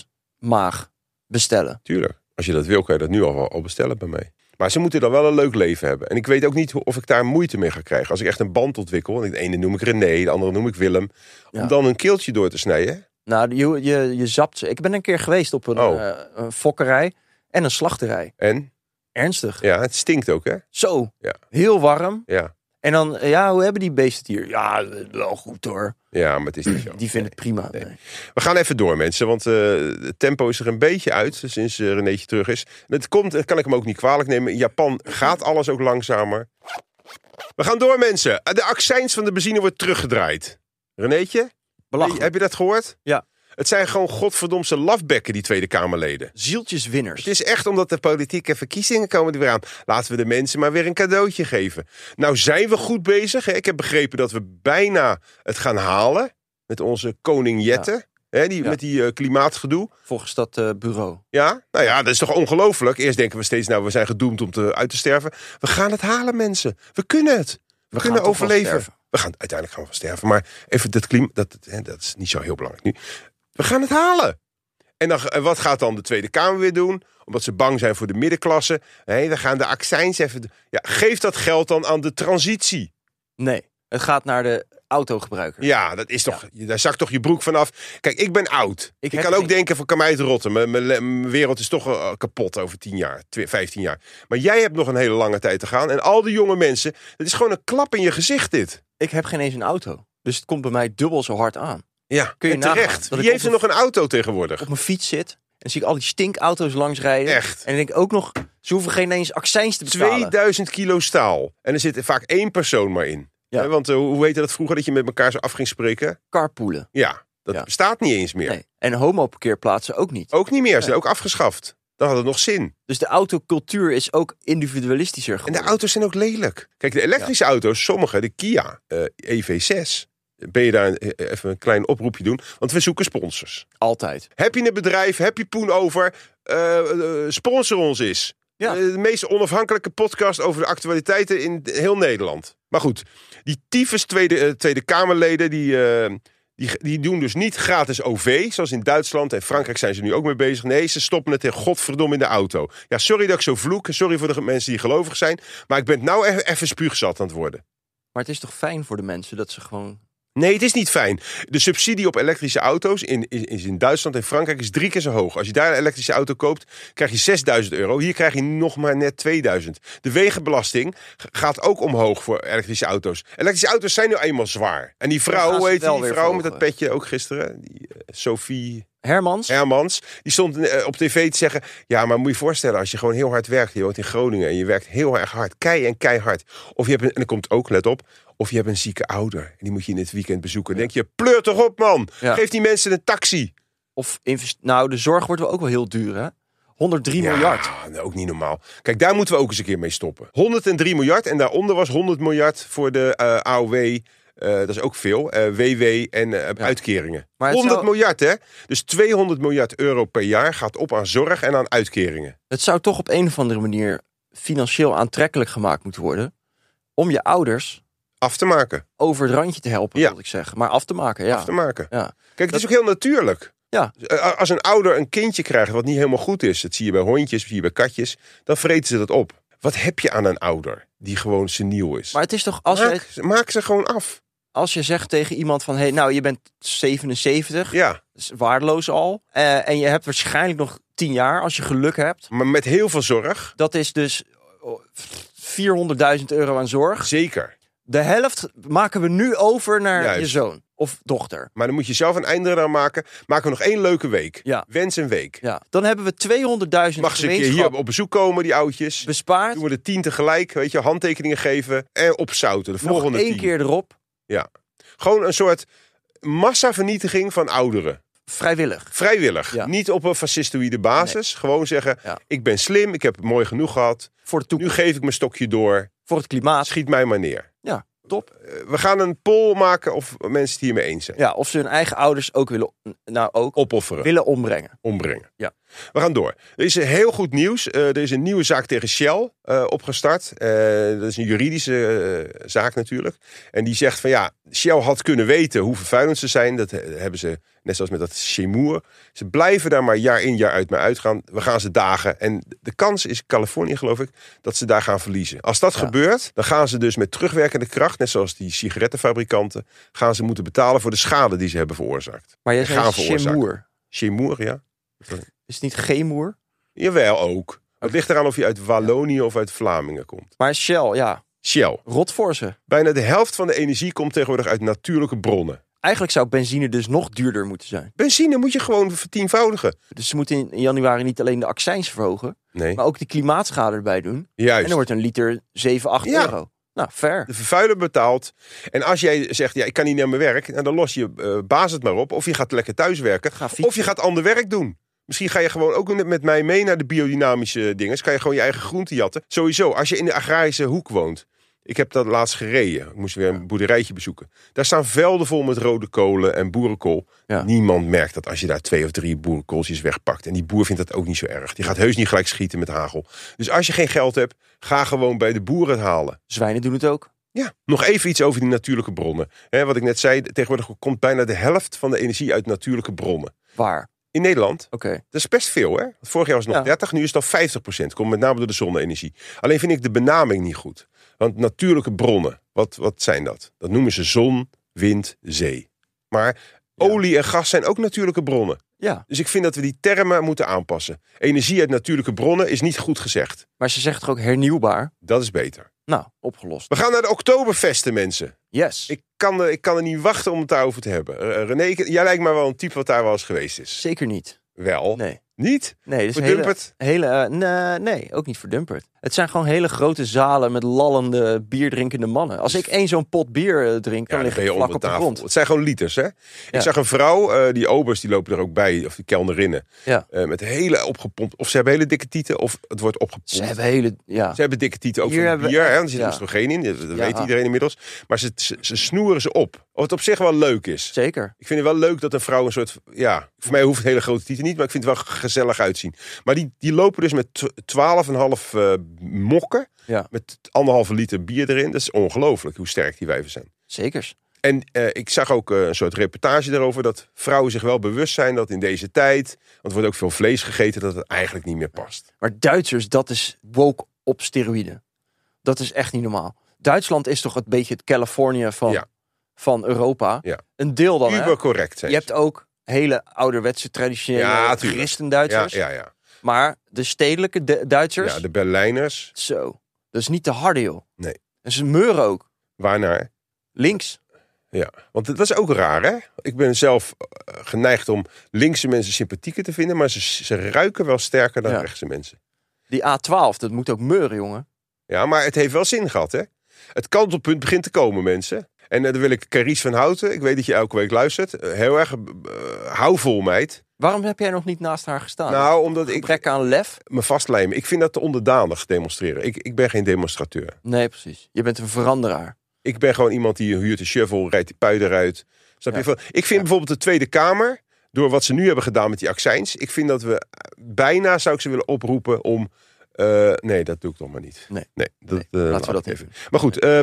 S2: varkensmaag bestellen?
S1: tuurlijk. Als je dat wil, kan je dat nu al, al bestellen bij mij. Maar ze moeten dan wel een leuk leven hebben. En ik weet ook niet hoe- of ik daar moeite mee ga krijgen. Als ik echt een band ontwikkel, en de ene noem ik René, de andere noem ik Willem.
S2: Ja.
S1: Om dan een keeltje door te snijden.
S2: Nou, je, je, je zapt ze. Ik ben een keer geweest op een,
S1: Oh.
S2: eh, een fokkerij en een slachterij.
S1: En
S2: Ernstig.
S1: ja, het stinkt ook, hè?
S2: Zo,
S1: Ja.
S2: heel warm.
S1: Ja,
S2: En dan, eh, ja, hoe hebben die beesten het hier? Ja, eh, wel goed hoor.
S1: ja maar het is niet zo.
S2: Die vinden het prima. Nee.
S1: We gaan even door, mensen, want eh, het tempo is er een beetje uit sinds eh, Renéetje terug is. En het komt, dat kan ik hem ook niet kwalijk nemen. In Japan gaat alles ook langzamer. We gaan door, mensen. Eh, De accijns van de benzine wordt teruggedraaid. Renéetje,
S2: Belachelijk.
S1: heb je dat gehoord?
S2: Ja.
S1: Het zijn gewoon godverdomse lafbekken, die Tweede Kamerleden.
S2: Zieltjeswinners.
S1: Het is echt omdat de politieke verkiezingen komen er weer aan. Laten we de mensen maar weer een cadeautje geven. Nou zijn we goed bezig. Hè? Ik heb begrepen dat we bijna het gaan halen. Met onze koning Jette. Hè, die,
S2: Ja.
S1: Met die eh, klimaatgedoe.
S2: Volgens dat eh, bureau.
S1: Ja? Nou ja, dat is toch ongelooflijk. Eerst denken we steeds, nou we zijn gedoemd om te, uit te sterven. We gaan het halen mensen. We kunnen het. We,
S2: gaan
S1: kunnen
S2: toch wel
S1: overleven.
S2: sterven.
S1: We gaan, uiteindelijk gaan we van sterven. Maar even dat klimaat, dat, hè, dat is niet zo heel belangrijk nu. We gaan het halen. En dan, en wat gaat dan de Tweede Kamer weer doen? Omdat ze bang zijn voor de middenklasse. Hé, we gaan de accijns even... do- Ja, geef dat geld dan aan de transitie.
S2: Nee, het gaat naar de autogebruiker.
S1: Ja, dat is toch, daar zakt toch je broek vanaf. Kijk, ik ben oud.
S2: Ik
S1: Ik,
S2: heb
S1: kan ook
S2: geen-
S1: denken van kan mij het rotten. Mijn, mijn, le- mijn wereld is toch eh, kapot over 10 jaar, 12, 15 jaar. Maar jij hebt nog een hele lange tijd te gaan. En al die jonge mensen, het is gewoon een klap in je gezicht dit.
S2: Ik heb geen eens een auto. Dus het komt bij mij dubbel zo hard aan.
S1: Ja,
S2: Kun je
S1: en
S2: nagaan
S1: terecht.
S2: dat ik
S1: Wie heeft
S2: op
S1: er nog een auto tegenwoordig?
S2: Op mijn fiets zit. En dan zie ik al die stinkauto's langs rijden.
S1: Echt.
S2: En dan denk ik ook nog, ze hoeven geen eens accijns te betalen.
S1: 2000 kilo staal. En er zit vaak één persoon maar in.
S2: Ja.
S1: Hè, Want eh, hoe heette dat vroeger, dat je met elkaar zo af ging spreken?
S2: Carpoolen.
S1: Ja, dat
S2: Ja.
S1: bestaat niet eens meer.
S2: Nee. En homoparkeerplaatsen ook niet.
S1: Ook niet meer, ze zijn ook afgeschaft. Dan had het nog zin.
S2: Dus de autocultuur is ook individualistischer
S1: En
S2: geworden.
S1: de auto's zijn ook lelijk. Kijk, de elektrische auto's, sommige, de Kia eh, EV6. Ben je daar een- eh, even een klein oproepje doen? Want we zoeken sponsors.
S2: Altijd.
S1: Heb je een bedrijf? Heb je poen over? Eh, eh, sponsor ons eens.
S2: Ja.
S1: Eh, de meest onafhankelijke podcast over de actualiteiten in d- heel Nederland. Maar goed, die tyfus Tweede, eh, tweede Kamerleden, die, eh, die, die doen dus niet gratis OV. Zoals in Duitsland en Frankrijk zijn ze nu ook mee bezig. Nee, ze stoppen het in godverdomme in de auto. Ja, sorry dat ik zo vloek. en Sorry voor de ge- mensen die gelovig zijn. Maar ik ben nou e- even spuugzat aan het worden.
S2: Maar het is toch fijn voor de mensen dat ze gewoon
S1: Nee, het is niet fijn. De subsidie op elektrische auto's in, is, is in Duitsland en Frankrijk is drie keer zo hoog. Als je daar een elektrische auto koopt, krijg je 6000 euro. Hier krijg je nog maar net 2000. De wegenbelasting g- gaat ook omhoog voor elektrische auto's. Elektrische auto's zijn nu eenmaal zwaar. En die
S2: Dan gaan
S1: vrouw,
S2: ze
S1: hoe heet
S2: wel
S1: die
S2: weer
S1: vrouw met dat
S2: verhogen.
S1: petje ook gisteren? Die, eh, Sophie...
S2: Hermans?
S1: Hermans, die stond eh, op tv te zeggen... ja, maar moet je je voorstellen, als je gewoon heel hard werkt... je woont in Groningen en je werkt heel erg hard, kei en keihard... of je hebt een, en er komt ook, let op... of je hebt een zieke ouder en die moet je in het weekend bezoeken. Dan denk je, pleur toch op, man!
S2: Ja.
S1: Geef die mensen een taxi!
S2: Of invest- nou, de zorg wordt wel ook wel heel duur, hè? 103 miljard.
S1: Ja, nou, ook niet normaal. Kijk, daar moeten we ook eens een keer mee stoppen. 103 miljard en daaronder was 100 miljard voor de eh, AOW... eh, dat is ook veel. eh, WW en eh, uitkeringen.
S2: Maar het
S1: 100
S2: zou-
S1: miljard, hè? Dus 200 miljard euro per jaar gaat op aan zorg en aan uitkeringen.
S2: Het zou toch op een of andere manier financieel aantrekkelijk gemaakt moeten worden. Om je ouders
S1: af te maken.
S2: over het randje te helpen,
S1: Ja.
S2: wil ik zeggen. Maar af te maken, ja.
S1: Af te maken.
S2: ja.
S1: Kijk, het is ook heel natuurlijk.
S2: Ja.
S1: Eh, Als een ouder een kindje krijgt wat niet helemaal goed is, dat zie je bij hondjes, dat zie je bij katjes, dan vreten ze dat op. Wat heb je aan een ouder die gewoon seniel is?
S2: Maar het is toch, als,
S1: maak,
S2: je,
S1: ze- maak ze gewoon af.
S2: als je zegt tegen iemand van... Hey, nou, je bent 77,
S1: Ja,
S2: is waardeloos al. eh, en je hebt waarschijnlijk nog 10 jaar, als je geluk hebt.
S1: maar met heel veel zorg.
S2: Dat is dus oh, 400.000 euro aan zorg.
S1: Zeker.
S2: De helft maken we nu over naar
S1: Juist.
S2: je zoon of dochter.
S1: Maar dan moet je zelf een einde eraan maken. Maken we nog één leuke week.
S2: Ja.
S1: Wens een week.
S2: Ja. Dan hebben we 200.000
S1: Mag ze een keer hier
S2: gemeenschap
S1: op bezoek komen, die oudjes.
S2: bespaard.
S1: Doen we de tien tegelijk, weet je, handtekeningen geven en opzouten. De
S2: Nog
S1: volgende
S2: één
S1: tien.
S2: keer erop,
S1: Gewoon een soort massavernietiging van ouderen.
S2: vrijwillig.
S1: Vrijwillig.
S2: Ja.
S1: Niet op een fascistoïde basis. Gewoon zeggen,
S2: Ja.
S1: ik ben slim, ik heb het mooi genoeg gehad.
S2: Voor de
S1: Nu
S2: toekomst,
S1: geef ik mijn stokje door.
S2: voor het klimaat.
S1: Schiet mij maar neer.
S2: Ja, top.
S1: Eh, We gaan een poll maken of mensen het hiermee eens zijn.
S2: Ja, of ze hun eigen ouders ook willen, nou ook,
S1: Opofferen,
S2: willen ombrengen.
S1: ombrengen.
S2: Ja.
S1: We gaan door. Er is heel goed nieuws. Eh, er is een nieuwe zaak tegen Shell eh, opgestart. Eh, dat is een juridische eh, zaak natuurlijk. En die zegt van ja, Shell had kunnen weten hoe vervuilend ze zijn. Dat eh, hebben ze, net zoals met dat Chemoer. Ze blijven daar maar jaar in jaar uit mee uitgaan. We gaan ze dagen. En de kans is, Californië geloof ik, dat ze daar gaan verliezen. Als dat gebeurt, dan gaan ze dus met terugwerkende kracht... net zoals die sigarettenfabrikanten... gaan ze moeten betalen voor de schade die ze hebben veroorzaakt.
S2: Maar jij
S1: En gaan
S2: zei
S1: veroorzaken.
S2: Chemoer.
S1: Chemoer, ja.
S2: Is het niet Gemoer?
S1: Jawel, ook. Het ligt eraan of je uit Wallonië of uit Vlamingen komt.
S2: Maar Shell, ja,
S1: Shell.
S2: rot voor ze.
S1: Bijna de helft van de energie komt tegenwoordig uit natuurlijke bronnen.
S2: Eigenlijk zou benzine dus nog duurder moeten zijn.
S1: Benzine moet je gewoon vertienvoudigen.
S2: Dus ze moeten in januari niet alleen de accijns verhogen,
S1: Nee,
S2: maar ook de klimaatschade erbij doen. En
S1: juist.
S2: dan wordt een liter 7, 8
S1: Ja. Dus-
S2: euro. Nou, fair.
S1: De vervuiler betaalt. En als jij zegt, ja, ik kan niet naar mijn werk, nou, dan los je eh, baas het maar op. Of je gaat lekker thuiswerken.
S2: Ga fietsen.
S1: Of je gaat ander werk doen. Misschien ga je gewoon ook met mij mee naar de biodynamische dingen. Dus kan je gewoon je eigen groente jatten. Sowieso, als je in de agrarische hoek woont. Ik heb dat laatst gereden. Ik moest weer een boerderijtje bezoeken. Daar staan velden vol met rode kolen en boerenkool.
S2: Ja.
S1: Niemand merkt dat als je daar twee of drie boerenkooltjes wegpakt. En die boer vindt dat ook niet zo erg. Die gaat heus niet gelijk schieten met hagel. Dus als je geen geld hebt, ga gewoon bij de boer het halen.
S2: Zwijnen Dus doen het ook.
S1: Ja, nog even iets over die natuurlijke bronnen. Hè, wat ik net zei, tegenwoordig komt bijna de helft van de energie uit natuurlijke bronnen.
S2: Waar?
S1: In Nederland,
S2: Oké.
S1: dat is best veel hè. Want Vorig jaar was het nog
S2: Ja.
S1: 30, nu is het al 50%. Komt met name door de zonne-energie. Alleen vind ik de benaming niet goed. Want natuurlijke bronnen, wat, wat zijn dat? Dat noemen ze zon, wind, zee. Maar olie en gas zijn ook natuurlijke bronnen.
S2: Ja,
S1: Dus ik vind dat we die termen moeten aanpassen. Energie uit natuurlijke bronnen is niet goed gezegd.
S2: maar ze zegt toch ook hernieuwbaar?
S1: Dat is beter.
S2: Nou, opgelost.
S1: We gaan naar de Oktoberfesten, mensen.
S2: Yes.
S1: Ik kan, er, ik kan er niet wachten om het daarover te hebben. Eh, René, ik- jij lijkt mij wel een type wat daar wel eens geweest is.
S2: Zeker niet.
S1: Wel.
S2: Nee.
S1: Niet?
S2: Nee, dus hele,
S1: Verdumperd?
S2: hele eh, nee, nee, ook niet verdumperd. Het zijn gewoon hele grote zalen met lallende, bierdrinkende mannen. Als ik één zo'n pot bier eh, drink, dan
S1: Ja, dan
S2: lig
S1: ben
S2: ik
S1: je
S2: vlak
S1: onder
S2: op de
S1: tafel.
S2: grond.
S1: Het zijn gewoon liters, hè?
S2: Ja.
S1: Ik zag een vrouw, eh, die obers, die lopen er ook bij. Of die kelnerinnen.
S2: Ja.
S1: Eh, met hele opgepompt. Of ze hebben hele dikke tieten, of het wordt opgepompt.
S2: Ze hebben hele, ja.
S1: Ze hebben dikke tieten ook
S2: Hier
S1: van
S2: hebben we
S1: bier. hè,
S2: echt-
S1: want Er zit
S2: ja.
S1: oestrogeen in. Dat dat
S2: Ja.
S1: weet iedereen inmiddels. Maar ze, ze, ze snoeren ze op. Wat op zich wel leuk is.
S2: Zeker.
S1: Ik vind het wel leuk dat een vrouw een soort... Ja, voor mij hoeft het hele grote titel niet, maar ik vind het wel gezellig uitzien. Maar die, die lopen dus met tw- 12,5 eh mokken.
S2: Ja,
S1: Met anderhalve liter bier erin. Dat is ongelooflijk hoe sterk die wijven zijn.
S2: zekers.
S1: En eh, ik zag ook eh, een soort reportage daarover dat vrouwen zich wel bewust zijn dat in deze tijd, want er wordt ook veel vlees gegeten, dat het eigenlijk niet meer past.
S2: Maar Duitsers, dat is woke op steroïden. Dat is echt niet normaal. Duitsland is toch een beetje het Californië van
S1: Ja.
S2: van Europa.
S1: Ja.
S2: Een deel dan. Hè?
S1: Uber correct zijn.
S2: Je hebt ook hele ouderwetse traditionele
S1: Ja, tuurlijk. ja,
S2: christen-Duitsers.
S1: ja, ja.
S2: Maar de stedelijke Du- Duitsers,
S1: ja, de Berlijners.
S2: zo. Dat is niet te harde, joh.
S1: Nee.
S2: En ze meuren ook.
S1: Waarnaar?
S2: Links.
S1: Ja, want dat is ook raar, hè? Ik ben zelf eh, geneigd om linkse mensen sympathieker te vinden, maar ze, ze ruiken wel sterker dan
S2: Ja.
S1: rechtse mensen.
S2: Die A12, dat moet ook meuren, jongen.
S1: Ja, maar het heeft wel zin gehad, hè? Het kantelpunt begint te komen, mensen. En eh, daar wil ik Carice van Houten, ik weet dat je elke week luistert, eh, heel erg eh, houvol, meid.
S2: Waarom heb jij nog niet naast haar gestaan?
S1: nou, omdat ik
S2: Gebrek aan lef?
S1: me vastlijmen. Ik vind dat te onderdanig demonstreren. Ik, ik ben geen demonstrateur.
S2: Nee, precies. Je bent een veranderaar.
S1: Ik ben gewoon iemand die huurt een shovel, rijdt die pui eruit. Snap
S2: Ja.
S1: je? Van- Ik vind bijvoorbeeld de Tweede Kamer, door wat ze nu hebben gedaan met die accijns, ik vind dat we bijna zou ik ze willen oproepen om. eh, nee, dat doe ik nog maar niet.
S2: Nee.
S1: dat,
S2: Nee,
S1: eh,
S2: laten we
S1: laat
S2: dat
S1: ik
S2: niet
S1: Maar goed, eh,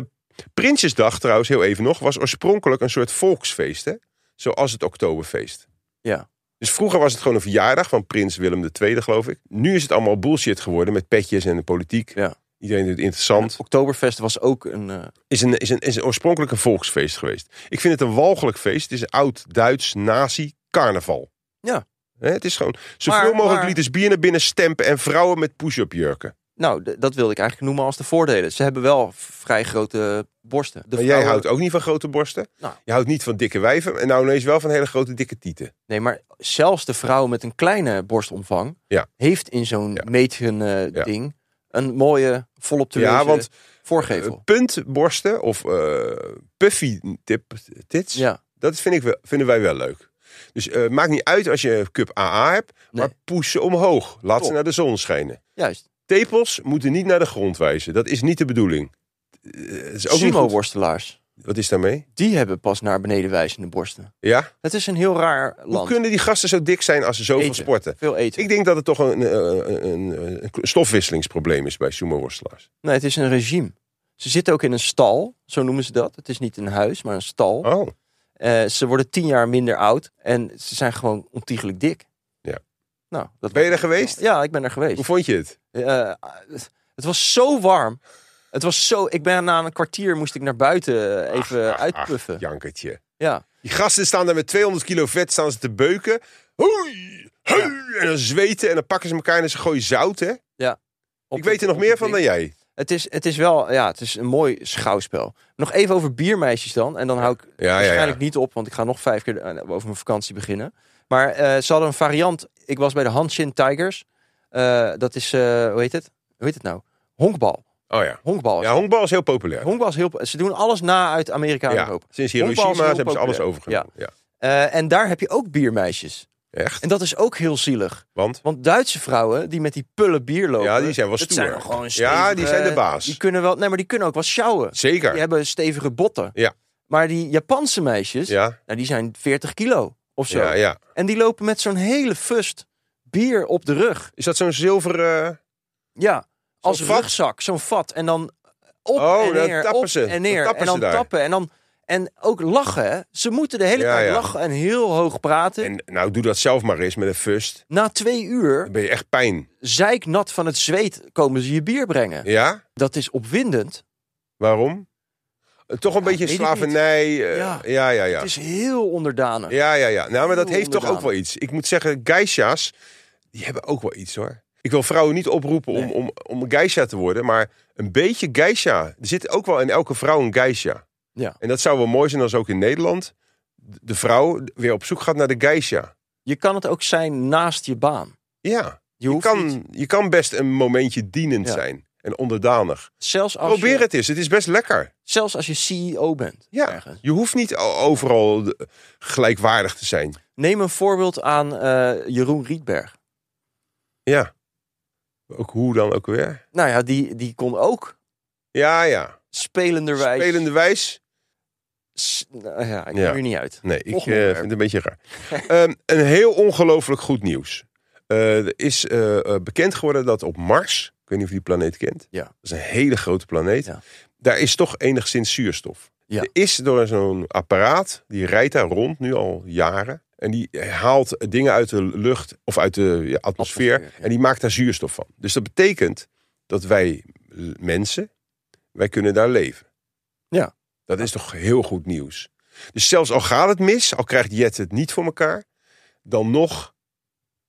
S1: Prinsjesdag trouwens, heel even nog, was oorspronkelijk een soort volksfeest, hè? Zoals het Oktoberfeest.
S2: Ja.
S1: Dus vroeger was het gewoon een verjaardag van prins Willem II, geloof ik. Nu is het allemaal bullshit geworden met petjes en de politiek.
S2: Ja.
S1: Iedereen doet het interessant.
S2: Oktoberfest was ook een... eh,
S1: Is een, is, een, is een oorspronkelijk een volksfeest geweest. Ik vind het een walgelijk feest. Het is een oud-Duits nazi-carnaval.
S2: Ja.
S1: Hè, het is gewoon zoveel mogelijk
S2: maar-
S1: liters bier naar binnen stempen en vrouwen met push-up jurken.
S2: nou, d- dat wilde ik eigenlijk noemen als de voordelen. Ze hebben wel v- vrij grote borsten. De
S1: Maar jij
S2: vrouwen-
S1: houdt ook niet van grote borsten.
S2: Nou.
S1: Je houdt niet van dikke wijven. En nou ineens wel van hele grote dikke tieten.
S2: Nee, maar zelfs de vrouw met een kleine borstomvang...
S1: Ja.
S2: heeft in zo'n
S1: Ja.
S2: meten eh,
S1: Ja.
S2: ding een mooie volop te
S1: Ja, want
S2: voorgevel.
S1: puntborsten Eh, of eh, puffy tip, tits.
S2: ja.
S1: Dat vind ik wel, vinden wij wel leuk. Dus eh, maakt niet uit als je cup AA hebt. Maar
S2: Nee.
S1: poes ze omhoog. Laat ze
S2: Top.
S1: naar de zon schijnen.
S2: Juist.
S1: Tepels moeten niet naar de grond wijzen. Dat is niet de bedoeling. Eh, het is ook niet goed.
S2: Sumo-worstelaars.
S1: Wat is daarmee?
S2: Die hebben pas naar beneden wijzende borsten.
S1: Ja?
S2: Het is een heel raar
S1: Hoe
S2: land.
S1: kunnen die gasten zo dik zijn als ze zoveel
S2: Eten.
S1: sporten?
S2: Veel eten.
S1: Ik denk dat het toch een, eh, een, een, een stofwisselingsprobleem is bij sumo-worstelaars.
S2: Nee, het is een regime. Ze zitten ook in een stal. Zo noemen ze dat. Het is niet een huis, maar een stal.
S1: Oh,
S2: Eh, ze worden tien jaar minder oud. En ze zijn gewoon ontiegelijk dik.
S1: Ja.
S2: Nou, dat
S1: Ben je er geweest?
S2: Ja, ik ben er geweest.
S1: hoe vond je het?
S2: Eh, het- het was zo warm. Het was zo... Ik ben na een kwartier moest ik naar buiten eh, even
S1: Ach,
S2: uitpuffen.
S1: Ach, Ah, jankertje.
S2: ja.
S1: Die gasten staan daar met 200 kilo vet staan ze te beuken. Hoi! hoi, En dan zweten en dan pakken ze elkaar en ze gooien zout, hè?
S2: Op-
S1: ik weet er nog
S2: op-
S1: meer
S2: op-
S1: van dan jij.
S2: Het is, het is wel, ja, het is een mooi schouwspel. Nog even over biermeisjes dan. En dan hou ik
S1: ja, ja.
S2: waarschijnlijk niet op, want ik ga nog vijf keer eh, over mijn vakantie beginnen. Maar eh ze hadden een variant. Ik was bij de Hanshin Tigers. Eh, dat is, eh, hoe heet het? Hoe heet het nou? Honkbal.
S1: Oh ja.
S2: Honkbal. is-
S1: Ja, honkbal is heel populair.
S2: Honkbal is heel... Ze doen alles na uit Amerika en
S1: ja.
S2: Europa.
S1: Sinds
S2: Honkbal is
S1: Hiroshima
S2: heel
S1: hebben ze alles
S2: populair.
S1: overgenomen. Ja.
S2: Eh, en daar heb je ook biermeisjes.
S1: Echt?
S2: En dat is ook heel zielig.
S1: Want?
S2: Want Duitse vrouwen die met die pullen bier lopen...
S1: Ja, die zijn wel
S2: dat
S1: stoer.
S2: zijn gewoon
S1: ja, die
S2: stevige-
S1: zijn de baas.
S2: Die kunnen wel... Nee, maar die kunnen ook wel sjouwen.
S1: Zeker.
S2: Die hebben stevige botten.
S1: Ja.
S2: Maar die Japanse meisjes,
S1: Ja,
S2: nou, die zijn 40 kilo of zo.
S1: ja, ja.
S2: En die lopen met zo'n hele fust bier op de rug.
S1: Is dat zo'n zilveren...
S2: Ja, als
S1: vat?
S2: rugzak, zo'n vat. En dan op
S1: Oh,
S2: en
S1: dan
S2: neer,
S1: tappen
S2: op
S1: ze.
S2: en
S1: Dan
S2: neer.
S1: tappen
S2: en dan
S1: ze daar.
S2: tappen. En dan en ook lachen. hè. Ze moeten de hele
S1: Ja,
S2: tijd
S1: ja.
S2: lachen en heel hoog praten.
S1: En nou, doe dat zelf maar eens met een fust.
S2: Na twee uur,
S1: Dan ben je echt pijn.
S2: zeiknat van het zweet, komen ze je bier brengen.
S1: Ja?
S2: Dat is opwindend.
S1: Waarom? Eh, Toch een
S2: Ja,
S1: beetje
S2: weet ik
S1: slavernij. eh,
S2: Ja.
S1: ja. ja, ja, ja.
S2: Het is heel onderdanig.
S1: Ja, ja, Nou, maar dat
S2: Heel
S1: heeft toch ook
S2: onderdanig.
S1: wel iets. Ik moet zeggen, geisha's, die hebben ook wel iets hoor. Ik wil vrouwen niet oproepen om,
S2: Nee.
S1: om, om een geisha te worden, maar een beetje geisha. Er zit ook wel in elke vrouw een geisha.
S2: Ja.
S1: En dat zou wel mooi zijn als ook in Nederland de vrouw weer op zoek gaat naar de geisha.
S2: Je kan het ook zijn naast je baan.
S1: Ja.
S2: Je
S1: Je
S2: hoeft niet-
S1: kan, je kan best een momentje dienend
S2: Ja.
S1: zijn en onderdanig.
S2: Zelfs als
S1: Probeer
S2: je,
S1: het eens, het is best lekker.
S2: Zelfs als je CEO bent.
S1: Ja.
S2: ergens.
S1: Je hoeft niet o- overal de- gelijkwaardig te zijn.
S2: Neem een voorbeeld aan eh, Jeroen Rietberg.
S1: Ja. Ook hoe dan ook weer.
S2: Nou ja, die, die kon ook
S1: Ja, ja.
S2: spelenderwijs...
S1: Spelende wijs.
S2: S- nou ja, ik kom
S1: Ja.
S2: er niet uit.
S1: Nee, ik eh,
S2: Volgende
S1: vind het een beetje raar. Ehm, een heel ongelooflijk goed nieuws. Eh, er is eh, eh, bekend geworden dat op Mars, ik weet niet of je die planeet kent,
S2: Ja.
S1: dat is een hele grote planeet,
S2: Ja.
S1: daar is toch enigszins zuurstof.
S2: Ja.
S1: Er is door zo'n apparaat, die rijdt daar rond nu al jaren, en die haalt dingen uit de lucht of uit de ja, atmosfeer,
S2: Atmosfeer, ja.
S1: en die maakt daar zuurstof van. Dus dat betekent dat wij l- mensen, wij kunnen daar leven.
S2: Ja.
S1: Dat is toch heel goed nieuws. Dus zelfs al gaat het mis, al krijgt Jet het niet voor elkaar, dan nog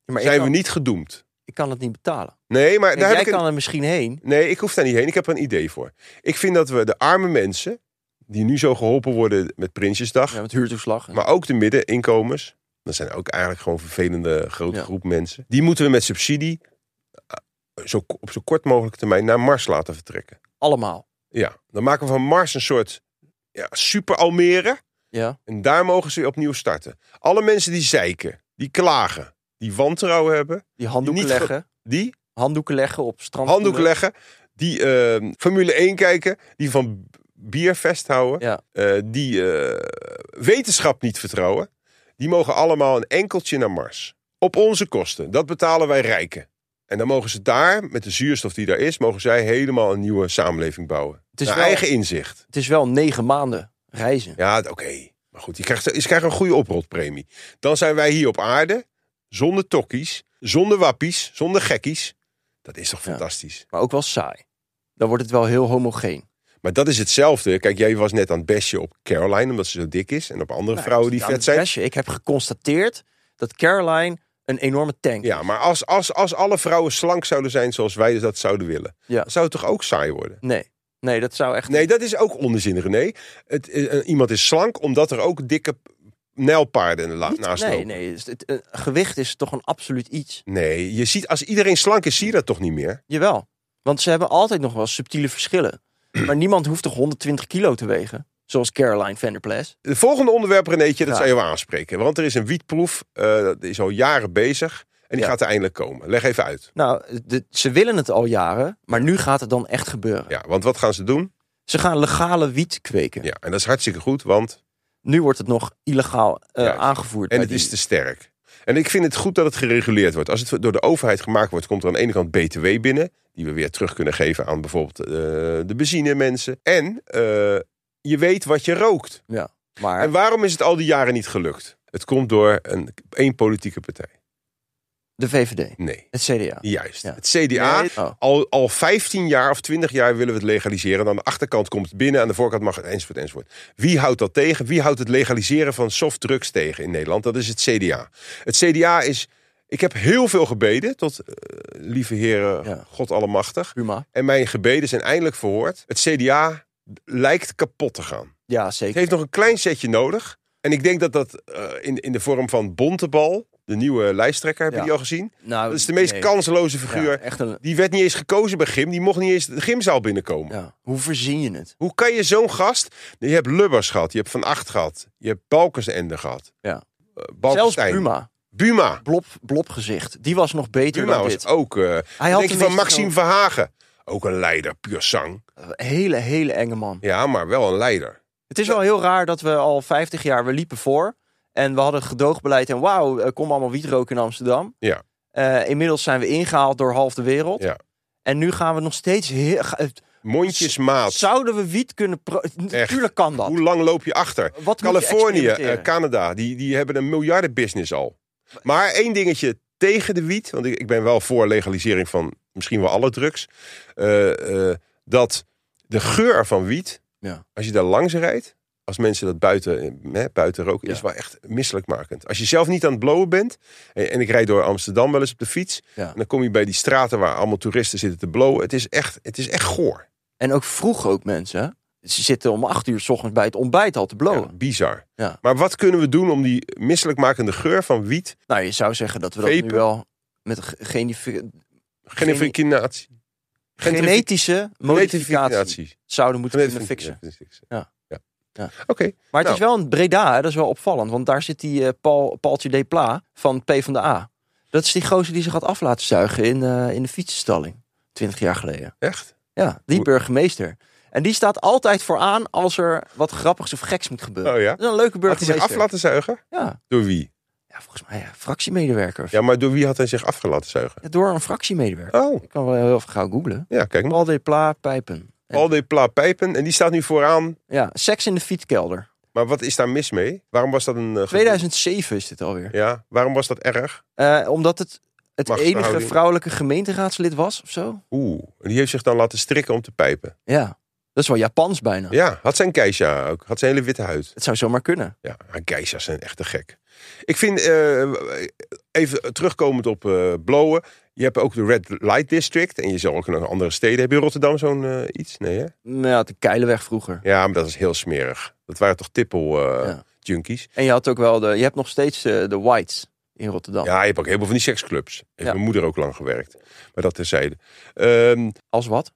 S2: Maar ik
S1: zijn
S2: kan,
S1: we niet gedoemd.
S2: Ik kan het niet betalen.
S1: Nee, maar
S2: En
S1: daar
S2: jij
S1: heb ik een-
S2: kan er misschien heen.
S1: Nee, ik hoef daar niet heen. Ik heb er een idee voor. Ik vind dat we de arme mensen, die nu zo geholpen worden met Prinsjesdag,
S2: Ja, met huurtoeslag.
S1: maar ook de middeninkomens, dat zijn ook eigenlijk gewoon vervelende grote
S2: Ja.
S1: groep mensen, die moeten we met subsidie eh, zo, op zo kort mogelijke termijn naar Mars laten vertrekken.
S2: Allemaal.
S1: Ja, dan maken we van Mars een soort ja, super Almere
S2: Ja.
S1: en daar mogen ze weer opnieuw starten. Alle mensen die zeiken, die klagen, die wantrouwen hebben,
S2: Die handdoeken
S1: Niet ge-
S2: leggen.
S1: die
S2: Handdoeken leggen op strand.
S1: handdoek leggen. Die eh, Formule 1 kijken. Die van b- bier vasthouden.
S2: Ja.
S1: eh, die eh, wetenschap niet vertrouwen. Die mogen allemaal een enkeltje naar Mars. Op onze kosten. Dat betalen wij rijken. En dan mogen ze daar, met de zuurstof die daar is, mogen zij helemaal een nieuwe samenleving bouwen.
S2: Het is
S1: Naar
S2: wel-
S1: eigen inzicht.
S2: Het is wel negen maanden reizen.
S1: Ja, d- oké. Maar goed, je krijgt, je krijgt een goede oprotpremie. Dan zijn wij hier op aarde, zonder tokkies, zonder wappies, zonder gekkies. Dat is toch
S2: Ja.
S1: fantastisch?
S2: Maar ook wel saai. Dan wordt het wel heel homogeen.
S1: Maar dat is hetzelfde. Kijk, jij was net aan het bestje op Caroline omdat ze zo dik is. En op andere vrouwen die
S2: Nou,
S1: vet zijn.
S2: Besje, Ik heb geconstateerd dat Caroline een enorme tank
S1: Ja, maar als, als, als alle vrouwen slank zouden zijn zoals wij dat zouden willen.
S2: Ja.
S1: dan zou het toch ook saai worden?
S2: Nee. Nee, dat zou echt...
S1: Nee, dat is ook onzin, René. Het, eh, iemand is slank omdat er ook dikke nijlpaarden la-
S2: Niet-
S1: naast
S2: nee,
S1: lopen.
S2: nee. dus het, eh, gewicht is toch een absoluut iets.
S1: Nee, je ziet, als iedereen slank is, zie je dat toch niet meer?
S2: Jawel. Want ze hebben altijd nog wel subtiele verschillen. maar niemand hoeft toch 120 kilo te wegen? Zoals Caroline van der Plas.
S1: Het volgende onderwerp, Renéetje, dat
S2: Ja.
S1: zou je wel aanspreken. Want er is een wietproef, eh, dat is al jaren bezig. En die
S2: Ja.
S1: gaat er eindelijk komen. Leg even uit.
S2: Nou, de- ze willen het al jaren, maar nu gaat het dan echt gebeuren.
S1: Ja, want wat gaan ze doen?
S2: Ze gaan legale wiet kweken.
S1: Ja, en dat is hartstikke goed, want
S2: Nu wordt het nog illegaal eh,
S1: Juist.
S2: aangevoerd.
S1: En
S2: bij
S1: het
S2: die-
S1: is te sterk. En ik vind het goed dat het gereguleerd wordt. Als het door de overheid gemaakt wordt, komt er aan de ene kant BTW binnen. Die we weer terug kunnen geven aan bijvoorbeeld eh, de benzinemensen. En eh, je weet wat je rookt.
S2: Maar
S1: En waarom is het al die jaren niet gelukt? Het komt door een, één politieke partij.
S2: de VVD,
S1: Nee,
S2: het CDA.
S1: juist.
S2: Ja.
S1: Het CDA.
S2: Nee, oh.
S1: Al, al 15 jaar of 20 jaar willen we het legaliseren. En aan de achterkant komt het binnen, aan de voorkant mag het, enzovoort, enzovoort. Wie houdt dat tegen? Wie houdt het legaliseren van softdrugs tegen in Nederland? Dat is het CDA. Het CDA is... Ik heb heel veel gebeden tot eh, lieve heren,
S2: Ja.
S1: God allemachtig.
S2: Puma.
S1: En mijn gebeden zijn eindelijk verhoord. Het CDA lijkt kapot te gaan.
S2: Ja,
S1: Het
S2: zeker.
S1: heeft nog een klein setje nodig. En ik denk dat dat eh, in, in de vorm van Bontebal, de nieuwe lijsttrekker, heb
S2: Ja.
S1: je die al gezien?
S2: nou,
S1: Dat is de meest
S2: nee.
S1: kansloze figuur.
S2: Ja, echt een,
S1: Die werd niet eens gekozen bij Gym. Die mocht niet eens de gymzaal binnenkomen.
S2: ja. Hoe verzin je het?
S1: Hoe kan je zo'n gast... Je hebt Lubbers gehad. Je hebt Van Acht gehad. Je hebt Balkensende gehad.
S2: Ja.
S1: Eh,
S2: Zelfs
S1: Balkenstein.
S2: Puma,
S1: Buma.
S2: blop, blopgezicht, die was nog beter
S1: Buma
S2: dan
S1: was
S2: dit.
S1: ook... eh
S2: Hij
S1: denk je
S2: tenminste
S1: van Maxime
S2: zo'n
S1: Verhagen. Ook een leider. Puur zang.
S2: hele, hele enge man.
S1: Ja, maar wel een leider.
S2: Het is wel heel raar dat we al 50 jaar, we liepen voor. En we hadden gedoogbeleid en wauw, eh, kom allemaal wiet roken in Amsterdam.
S1: Ja.
S2: Eh, inmiddels zijn we ingehaald door half de wereld.
S1: Ja.
S2: En nu gaan we nog steeds... Heel, ga- eh,
S1: Mondjesmaat.
S2: zouden we wiet kunnen... pro- Natuurlijk kan dat.
S1: Hoe lang loop je achter?
S2: Wat moet je
S1: Californië,
S2: experimenteren?
S1: eh, Canada, die, die hebben een miljardenbusiness al. Maar één dingetje tegen de wiet, want ik, ik ben wel voor legalisering van misschien wel alle drugs. eh, eh, dat de geur van wiet,
S2: Ja.
S1: als je daar langs rijdt, als mensen dat buiten, eh, hè, buiten roken, is
S2: Ja.
S1: wel echt misselijkmakend. Als je zelf niet aan het blowen bent, en, en ik rijd door Amsterdam wel eens op de fiets,
S2: Ja.
S1: en dan kom je bij die straten waar allemaal toeristen zitten te blowen. Het is echt, het is echt goor.
S2: En ook vroeg ook mensen. hè? Ze zitten om acht uur s ochtends bij het ontbijt al te blowen.
S1: Ja, bizar.
S2: Oh. Ja.
S1: Maar wat kunnen we doen om die misselijkmakende geur van wiet
S2: Nou, je zou zeggen dat we dat nu
S1: Vapen.
S2: wel met ge- genifi-
S1: Gentrificatie.
S2: genetische modificatie zouden moeten kunnen fixen.
S1: Ja.
S2: Ja.
S1: ja.
S2: Ja.
S1: Oké.
S2: Maar het
S1: Nou.
S2: is wel een Breda, hè? dat is wel opvallend. Want daar zit die eh, Paul, Paultje de Pla van P van de A. Dat is die gozer die zich had af laten zuigen in, eh, in de fietsenstalling. Twintig jaar geleden.
S1: Echt?
S2: Ja, die
S1: Hoe-
S2: burgemeester. En die staat altijd vooraan als er wat grappigs of geks moet gebeuren.
S1: Oh ja.
S2: Dat is een leuke
S1: Had hij
S2: burgemeester.
S1: zich af laten zuigen?
S2: ja.
S1: Door wie?
S2: ja, volgens mij ja, fractiemedewerker. of
S1: Ja, maar door wie had hij zich af laten zuigen?
S2: Ja, door een fractiemedewerker.
S1: Oh,
S2: Ik kan wel heel even gauw googlen.
S1: ja, kijk maar.
S2: Paul de Pla Pijpen. En-
S1: Al die pla pijpen en die staat nu vooraan.
S2: ja, seks in de fietskelder.
S1: Maar wat is daar mis mee? Waarom was dat een... eh, gedoe?
S2: 2007 is dit alweer.
S1: Ja, waarom was dat erg?
S2: Eh, omdat het het
S1: Machtsverhouding.
S2: enige vrouwelijke gemeenteraadslid was of zo.
S1: Oeh, en die heeft zich dan laten strikken om te pijpen.
S2: Ja. Dat is wel Japans bijna.
S1: Ja, had zijn keisha ook. Had zijn hele witte huid.
S2: Het zou zomaar kunnen.
S1: Ja, maar geisha's zijn echt te gek. Ik vind, eh, even terugkomend op eh blowen. Je hebt ook de Red Light District. En je zal ook nog andere steden. Heb je in Rotterdam zo'n eh, iets? Nee, hè?
S2: Nou, ja, de Keilenweg vroeger.
S1: Ja, maar dat is heel smerig. Dat waren toch tippel eh,
S2: Ja.
S1: junkies?
S2: En je had ook wel de. Je hebt nog steeds eh, de Whites in Rotterdam.
S1: Ja, je hebt ook heel veel van die seksclubs. Heeft
S2: Ja.
S1: mijn moeder ook lang gewerkt. Maar dat terzijde. Ehm
S2: Als wat?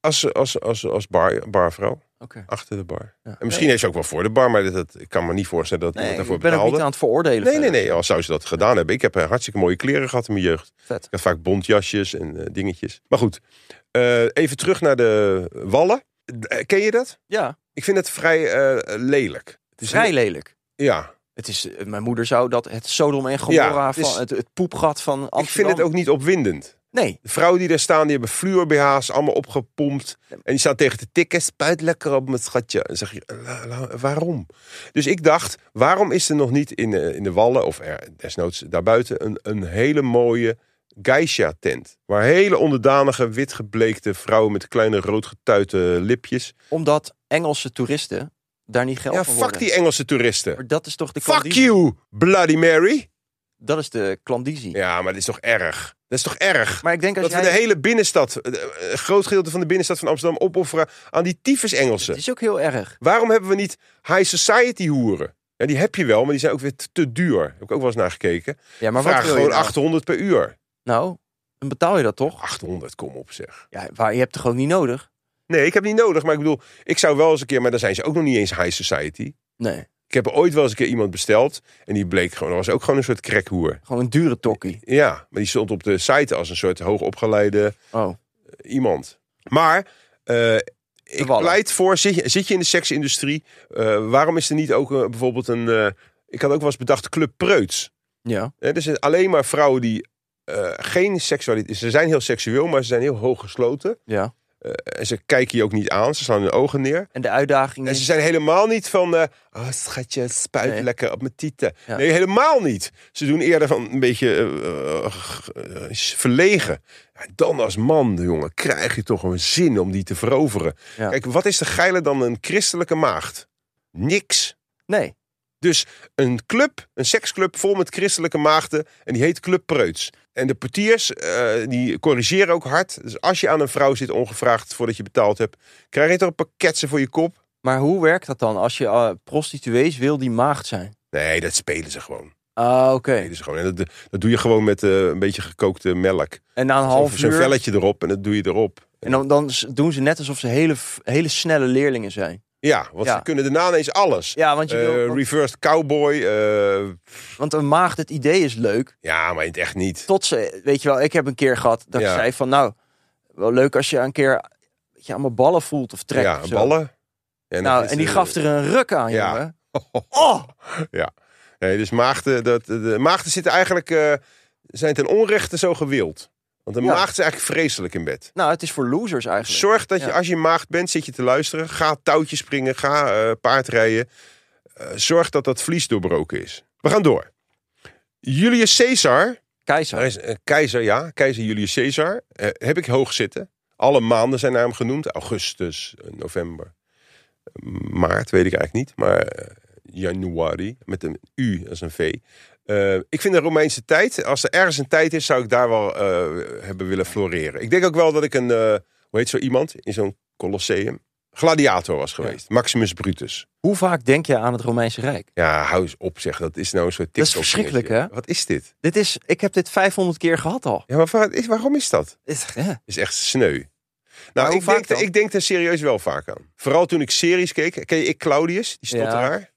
S1: als als, als, als bar, barvrouw.
S2: Oké.
S1: Achter de bar.
S2: Ja.
S1: En misschien heeft ze ook wel voor de bar. Maar dat, dat- ik kan me niet voorstellen dat
S2: Nee,
S1: iemand
S2: ik
S1: daarvoor
S2: ben
S1: betaalde.
S2: ook niet aan het veroordelen.
S1: Nee, nee,
S2: verder.
S1: nee. Al zou ze dat gedaan hebben. Ik heb eh, hartstikke mooie kleren gehad in mijn jeugd.
S2: Vet.
S1: Ik had vaak bontjasjes en eh, dingetjes. Maar goed, eh, even terug naar de wallen. Eh, Ken je dat?
S2: Ja,
S1: Ik vind het vrij eh, lelijk. Het is
S2: vrij
S1: niet-
S2: lelijk.
S1: Ja,
S2: Het is, eh, mijn moeder zou dat het Sodom en Gomorra
S1: Ja, het is-
S2: van het, het poepgat van Amsterdam.
S1: ik vind het ook niet opwindend.
S2: Nee,
S1: De vrouwen die daar staan, die hebben fluor BH's, allemaal opgepompt. En die staan tegen te tikken, spuit lekker op mijn schatje. En zeg je, "Eh, la- la- waarom? Dus ik dacht, waarom is er nog niet in, eh, in de wallen, of er, desnoods daarbuiten, een, een hele mooie geisha-tent? Waar hele onderdanige, witgebleekte vrouwen met kleine roodgetuite lipjes.
S2: omdat Engelse toeristen daar niet geld
S1: Ja,
S2: van
S1: fuck
S2: worden.
S1: die Engelse toeristen.
S2: Maar dat is toch de
S1: Fuck
S2: klandizie?
S1: you, Bloody Mary.
S2: Dat is de klandizie.
S1: Ja, maar dit is toch erg? Dat is toch erg?
S2: Maar ik denk als
S1: Dat we
S2: jij...
S1: de hele binnenstad, eh, een groot gedeelte van de binnenstad van Amsterdam opofferen aan die tyfus Engelsen.
S2: Het is ook heel erg.
S1: Waarom hebben we niet high society hoeren? Ja, die heb je wel, maar die zijn ook weer te- te duur. Heb ik ook wel eens naar gekeken.
S2: Ja, maar
S1: Vraag
S2: wat wil je
S1: gewoon
S2: nou?
S1: 800 per uur.
S2: Nou, dan betaal je dat toch?
S1: 800, kom op zeg.
S2: Ja, waar, je hebt het gewoon niet nodig.
S1: Nee, ik heb niet nodig, maar ik bedoel, ik zou wel eens een keer, maar dan zijn ze ook nog niet eens high society.
S2: Nee,
S1: Ik heb ooit wel eens een keer iemand besteld en die bleek gewoon, dat was ook gewoon een soort crackhoer.
S2: gewoon een dure tokkie.
S1: Ja, maar die stond op de site als een soort hoogopgeleide
S2: Oh,
S1: iemand. Maar eh, ik
S2: Wallen.
S1: pleit voor, zit je, zit je in de seksindustrie, eh, waarom is er niet ook eh, bijvoorbeeld een... eh, ik had ook wel eens bedacht Club Preuts.
S2: ja.
S1: Hè, er zijn alleen maar vrouwen die eh, geen seksualiteit... Ze zijn heel seksueel, maar ze zijn heel hooggesloten.
S2: ja.
S1: En ze kijken je ook niet aan, ze slaan hun ogen neer.
S2: En de uitdaging
S1: En ze
S2: is...
S1: zijn helemaal niet van... eh oh, schatje, spuit
S2: Nee.
S1: lekker op mijn tieten.
S2: Ja.
S1: Nee, helemaal niet. Ze doen eerder van een beetje eh, eh, g- eh, verlegen. Ja, dan als man, jongen, krijg je toch een zin om die te veroveren.
S2: Ja.
S1: Kijk, wat is er geiler dan een christelijke maagd? Niks.
S2: Nee,
S1: Dus een club, een seksclub vol met christelijke maagden. En die heet Club Preuts. En de portiers, eh, die corrigeren ook hard. Dus als je aan een vrouw zit ongevraagd voordat je betaald hebt... krijg je toch een pakketje voor je kop?
S2: maar hoe werkt dat dan als je eh, prostituees wil die maagd zijn?
S1: Nee, dat spelen ze gewoon.
S2: Ah, oké.
S1: Spelen ze gewoon. En dat, dat doe je gewoon met eh, een beetje gekookte melk.
S2: En na een
S1: Half
S2: half
S1: Zo'n
S2: uur...
S1: velletje erop en dat doe je erop.
S2: En dan, dan s- doen ze net alsof ze hele, f- hele snelle leerlingen zijn.
S1: Ja, want
S2: Ja.
S1: ze kunnen daarna ineens alles.
S2: Ja, want, je wil,
S1: Eh,
S2: want-
S1: reversed cowboy. eh,
S2: want een maagd, het idee is leuk.
S1: ja, maar in het echt niet.
S2: Tot ze, weet je wel, ik heb een keer gehad dat
S1: Ja.
S2: ik zei van... Nou, wel leuk als je een keer weet je, allemaal ballen voelt of trekt. of
S1: Ja,
S2: zo.
S1: ballen. En eh,
S2: Nou, en die gaf er een ruk aan,
S1: Ja.
S2: jongen.
S1: Oh! Ja. Nee, dus maagden, dat, de maagden zitten eigenlijk, eh, zijn ten onrechte zo gewild. Want een
S2: Ja.
S1: maagd is eigenlijk vreselijk in bed.
S2: Nou, het is voor losers eigenlijk.
S1: Zorg dat je,
S2: Ja.
S1: als je maagd bent, zit je te luisteren. Ga touwtjes springen, ga eh, paardrijden. Eh, zorg dat dat vlies doorbroken is. We gaan door. Julius Caesar,
S2: Keizer.
S1: hij is, eh, keizer, ja, keizer Julius Caesar, eh, heb ik hoog zitten. Alle maanden zijn naar hem genoemd. Augustus, eh, november, eh, maart, weet ik eigenlijk niet. Maar eh, januari, met een U als een V. Eh, ik vind de Romeinse tijd, als er ergens een tijd is, zou ik daar wel eh, hebben willen floreren. Ik denk ook wel dat ik een, eh, hoe heet zo iemand, in zo'n colosseum, gladiator was geweest. Maximus Brutus.
S2: Hoe vaak denk je aan het Romeinse Rijk?
S1: Ja, hou eens op zeg, dat is nou een soort
S2: Dat
S1: TikTok
S2: is verschrikkelijk,
S1: dingetje.
S2: hè?
S1: Wat is dit?
S2: Dit is, ik heb dit 500 keer gehad al.
S1: Ja, maar waar- is- waarom is dat?
S2: Is- ja.
S1: is echt sneu.
S2: Maar
S1: Nou,
S2: hoe
S1: ik
S2: vaak
S1: denk,
S2: dan?
S1: ik denk er serieus wel vaak aan. Vooral toen ik series keek. Ken je ik Claudius, die stotteraar?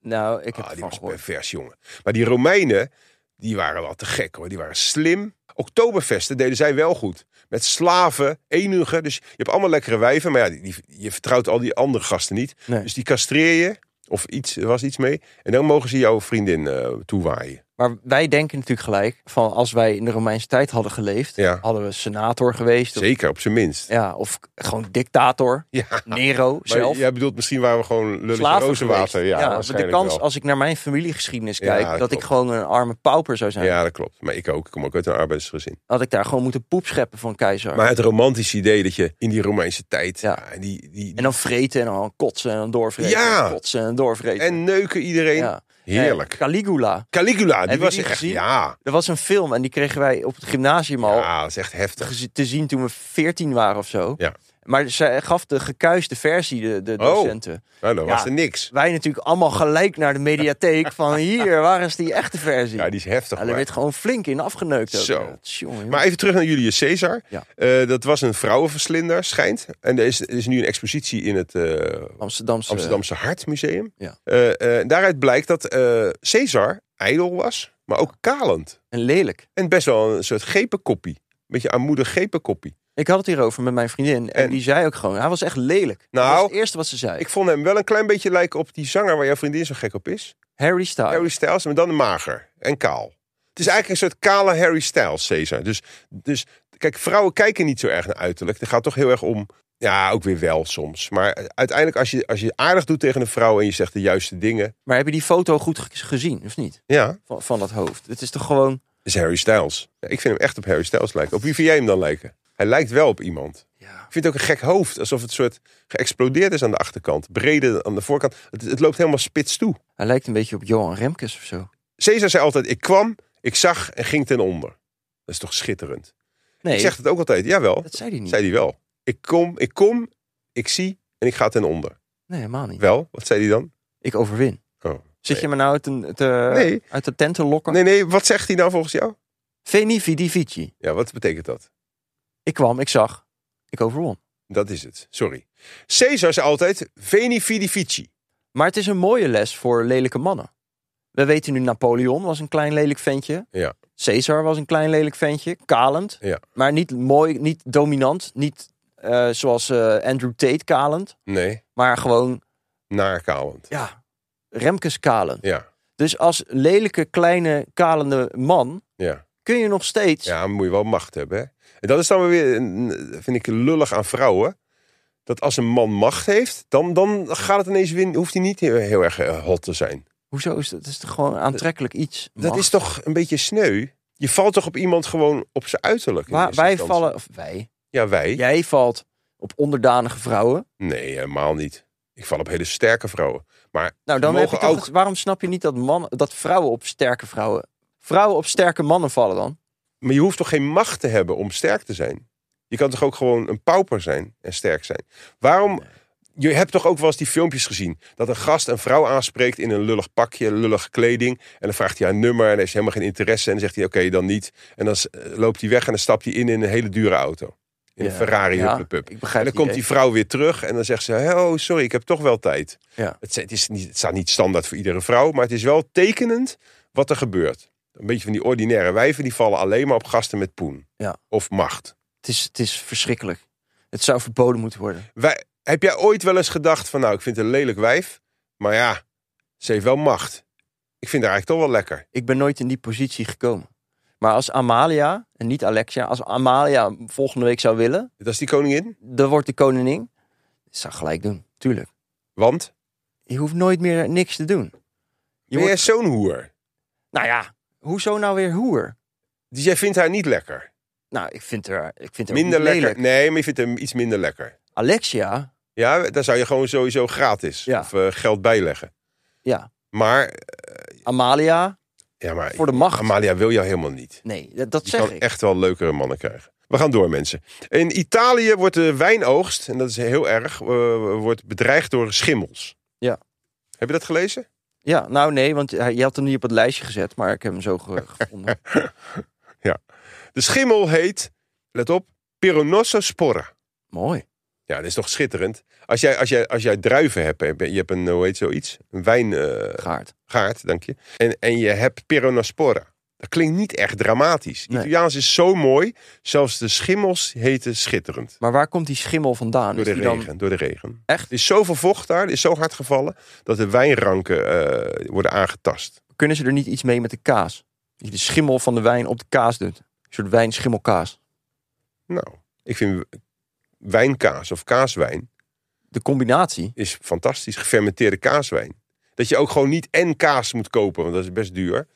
S2: Nou, ik
S1: ah,
S2: heb het
S1: die
S2: van
S1: was
S2: gehoord.
S1: pervers, jongen. Maar die Romeinen, die waren wel te gek, hoor. Die waren slim. Oktoberfesten deden zij wel goed. Met slaven, enugen. Dus je hebt allemaal lekkere wijven. Maar ja, die, die- je vertrouwt al die andere gasten niet.
S2: Nee.
S1: Dus die castreer je. Of iets, er was iets mee. En dan mogen ze jouw vriendin eh, toewaaien.
S2: Maar wij denken natuurlijk gelijk van als wij in de Romeinse tijd hadden geleefd,
S1: Ja.
S2: hadden we senator geweest. Of,
S1: Zeker, op zijn minst.
S2: ja, of gewoon dictator,
S1: Ja. Maar
S2: Nero zelf.
S1: jij bedoelt, misschien waren we gewoon lullig
S2: slaven
S1: rozenwater.
S2: geweest.
S1: Ja,
S2: maar de
S1: waarschijnlijk
S2: kans
S1: wel.
S2: als ik naar mijn familiegeschiedenis
S1: Ja,
S2: kijk,
S1: dat
S2: dat, ik
S1: klopt.
S2: gewoon een arme pauper zou zijn,
S1: Ja, dat klopt. Maar ik ook. Ik kom ook uit een arbeidersgezin.
S2: had ik daar gewoon moeten poep scheppen van keizer.
S1: Maar het romantische idee dat je in die Romeinse tijd...
S2: Ja.
S1: Ja. die, die,
S2: en dan vreten en dan kotsen en dan doorvreten.
S1: Ja.
S2: En kotsen en doorvreten.
S1: en neuken iedereen.
S2: Ja.
S1: Heerlijk.
S2: Eh, Caligula.
S1: Caligula, die
S2: Heb je
S1: was
S2: die
S1: echt...
S2: gezien?
S1: Ja,
S2: Er was een film en die kregen wij op het gymnasium al
S1: ja, dat is echt heftig.
S2: gez- te zien toen we 14 waren of zo.
S1: Ja.
S2: Maar zij gaf de gekuiste versie, de, de
S1: Oh.
S2: docenten.
S1: Nou, dan
S2: Ja.
S1: was er niks.
S2: Wij natuurlijk allemaal gelijk naar de mediatheek van hier, waar is die echte versie?
S1: Ja, die is heftig.
S2: Ja,
S1: maar-
S2: daar werd gewoon flink in afgeneukt. Ook.
S1: Zo.
S2: Ja, tjonge, jonge.
S1: Maar even terug naar Julius Caesar.
S2: Ja.
S1: Eh, dat was een vrouwenverslinder, schijnt. En er is, er is nu een expositie in het eh,
S2: Amsterdamse...
S1: Amsterdamse Hartmuseum.
S2: eh, Ja.
S1: Eh, eh, daaruit blijkt dat eh Caesar ijdel was, maar ook kalend.
S2: En lelijk.
S1: En best wel een soort gepenkoppie. Een beetje armoedig gepenkoppie.
S2: Ik had het hierover met mijn vriendin. En,
S1: En-
S2: die zei ook gewoon, hij was echt lelijk.
S1: Nou,
S2: dat was het eerste wat ze zei.
S1: Ik vond hem wel een klein beetje lijken op die zanger waar jouw vriendin zo gek op is.
S2: Harry Styles.
S1: Harry Styles, maar dan mager en kaal. Het is eigenlijk een soort kale Harry Styles, Caesar. Dus, dus kijk, vrouwen kijken niet zo erg naar uiterlijk. Het gaat toch heel erg om, ja, ook weer wel soms. Maar uiteindelijk, als je, als je aardig doet tegen een vrouw en je zegt de juiste dingen,
S2: Maar heb je die foto goed ge- gezien, of niet?
S1: ja, dat
S2: Van, van dat hoofd. Het is toch gewoon...
S1: is Harry Styles. Ja, ik vind hem echt op Harry Styles lijken. Op wie vind jij hem dan lijken? Hij lijkt wel op iemand.
S2: Ja.
S1: Ik vind het ook een gek hoofd, alsof het soort geëxplodeerd is aan de achterkant. Breder aan de voorkant. Het, het loopt helemaal spits toe.
S2: Hij lijkt een beetje op Johan Remkes of zo.
S1: Caesar zei altijd, ik kwam, ik zag en ging ten onder. Dat is toch schitterend?
S2: Nee,
S1: Ik zeg het ook altijd. Jawel,
S2: dat zei hij niet.
S1: zei hij wel. Ik kom, ik kom, ik zie en ik ga ten onder.
S2: Nee, helemaal niet.
S1: Wel, wat zei hij dan?
S2: Ik overwin.
S1: Oh.
S2: Zit je me nou uit, een, te,
S1: Nee.
S2: uit de tent te lokken?
S1: Nee, nee, wat zegt hij nou volgens jou?
S2: Veni vidi vici.
S1: Ja, wat betekent dat?
S2: Ik kwam, ik zag, ik overwon.
S1: Dat is het, sorry. Caesar zei altijd, veni vidi vici.
S2: Maar het is een mooie les voor lelijke mannen. We weten nu Napoleon was een klein lelijk ventje.
S1: Ja.
S2: Caesar was een klein lelijk ventje. Kalend.
S1: Ja.
S2: Maar niet mooi, niet dominant. Niet eh, zoals eh, Andrew Tate kalend.
S1: Nee,
S2: Maar gewoon,
S1: naarkalend.
S2: ja, Remkes kalend.
S1: Ja,
S2: Dus als lelijke, kleine, kalende man
S1: ja.
S2: kun je nog steeds...
S1: Ja, moet je wel macht hebben. Hè? En dat is dan weer, een- vind ik lullig aan vrouwen. Dat als een man macht heeft, dan, dan gaat het ineens winnen. Hoeft hij niet heel, heel erg eh, hot te zijn.
S2: Hoezo is dat? Dat is toch gewoon aantrekkelijk iets?
S1: Dat
S2: man?
S1: is toch een beetje sneu? Je valt toch op iemand gewoon op zijn uiterlijk? in
S2: Wa-
S1: eerste
S2: wij
S1: instantie?
S2: vallen, of wij,
S1: Ja, wij?
S2: jij valt op onderdanige vrouwen.
S1: Nee, helemaal niet. Ik val op hele sterke vrouwen. Maar
S2: Nou, dan
S1: we
S2: heb je
S1: mogen
S2: toch,
S1: ook...
S2: het- waarom snap je niet dat, mannen, dat vrouwen op sterke vrouwen, vrouwen op sterke mannen vallen dan?
S1: Maar je hoeft toch geen macht te hebben om sterk te zijn? Je kan toch ook gewoon een pauper zijn en sterk zijn? Waarom... Je hebt toch ook wel eens die filmpjes gezien... dat een gast een vrouw aanspreekt in een lullig pakje, lullige kleding... en dan vraagt hij haar nummer en hij heeft helemaal geen interesse... en dan zegt hij, oké, dan niet. En dan s- eh, loopt hij weg en dan stapt hij in in een hele dure auto. In een
S2: Ja.
S1: Ferrari,
S2: Ja,
S1: huppepup.
S2: Ik begrijp
S1: en dan komt
S2: idee.
S1: die vrouw weer terug en dan zegt ze: Oh, sorry, ik heb toch wel tijd.
S2: Ja.
S1: Het, het is niet, het staat niet standaard voor iedere vrouw, maar het is wel tekenend wat er gebeurt. Een beetje van die ordinaire wijven, die vallen alleen maar op gasten met poen.
S2: Ja.
S1: Of macht.
S2: Het is, het is verschrikkelijk. Het zou verboden moeten worden.
S1: Wij, heb jij ooit wel eens gedacht van, nou, ik vind het een lelijk wijf, maar ja, ze heeft wel macht. Ik vind haar eigenlijk toch wel lekker.
S2: Ik ben nooit in die positie gekomen. Maar als Amalia, en niet Alexia, als Amalia volgende week zou willen,
S1: Dat is die koningin,
S2: dan wordt de koningin. Ik zou gelijk doen, tuurlijk.
S1: want
S2: Je hoeft nooit meer niks te doen. Je
S1: je bent
S2: wordt,
S1: jij zo'n hoer.
S2: nou ja, hoezo nou weer hoer?
S1: Dus jij vindt haar niet lekker.
S2: Nou, ik vind haar, ik vind haar
S1: Minder
S2: niet
S1: lekker.
S2: lelijk.
S1: Nee, maar je vindt hem iets minder lekker.
S2: Alexia,
S1: Ja, daar zou je gewoon sowieso gratis
S2: Ja.
S1: of eh, geld bijleggen.
S2: ja.
S1: Maar
S2: Amalia,
S1: Ja, maar
S2: Voor de macht.
S1: Amalia wil jou helemaal niet.
S2: nee, dat, dat
S1: Je
S2: zeg
S1: kan
S2: ik.
S1: echt wel leukere mannen krijgen. We gaan door, mensen. In Italië wordt de wijnoogst, en dat is heel erg, eh, wordt bedreigd door schimmels.
S2: Ja.
S1: Heb je dat gelezen?
S2: Ja, nou nee, want hij- je had hem niet op het lijstje gezet, maar ik heb hem zo ge- gevonden.
S1: De schimmel heet, let op, Peronosospora.
S2: Mooi.
S1: Ja, dat is toch schitterend. Als jij, als jij, als jij druiven hebt, heb je je hebt een, eh, hoe heet zoiets? Een wijngaard,
S2: Gaard.
S1: dank je. En, en je hebt Peronospora. Dat klinkt niet echt dramatisch.
S2: Nee.
S1: Italiaans is zo mooi, zelfs de schimmels heten schitterend.
S2: Maar waar komt die schimmel vandaan?
S1: Door de
S2: Is die dan-
S1: regen, door de regen.
S2: Echt?
S1: Er is zoveel vocht daar, er is zo hard gevallen... dat de wijnranken eh, worden aangetast.
S2: kunnen ze er niet iets mee met de kaas? Dat je de schimmel van de wijn op de kaas doet. Een soort wijnschimmelkaas.
S1: Nou, ik vind wijnkaas of kaaswijn
S2: De combinatie.
S1: is fantastisch. Gefermenteerde kaaswijn. Dat je ook gewoon niet en kaas moet kopen, want dat is best duur.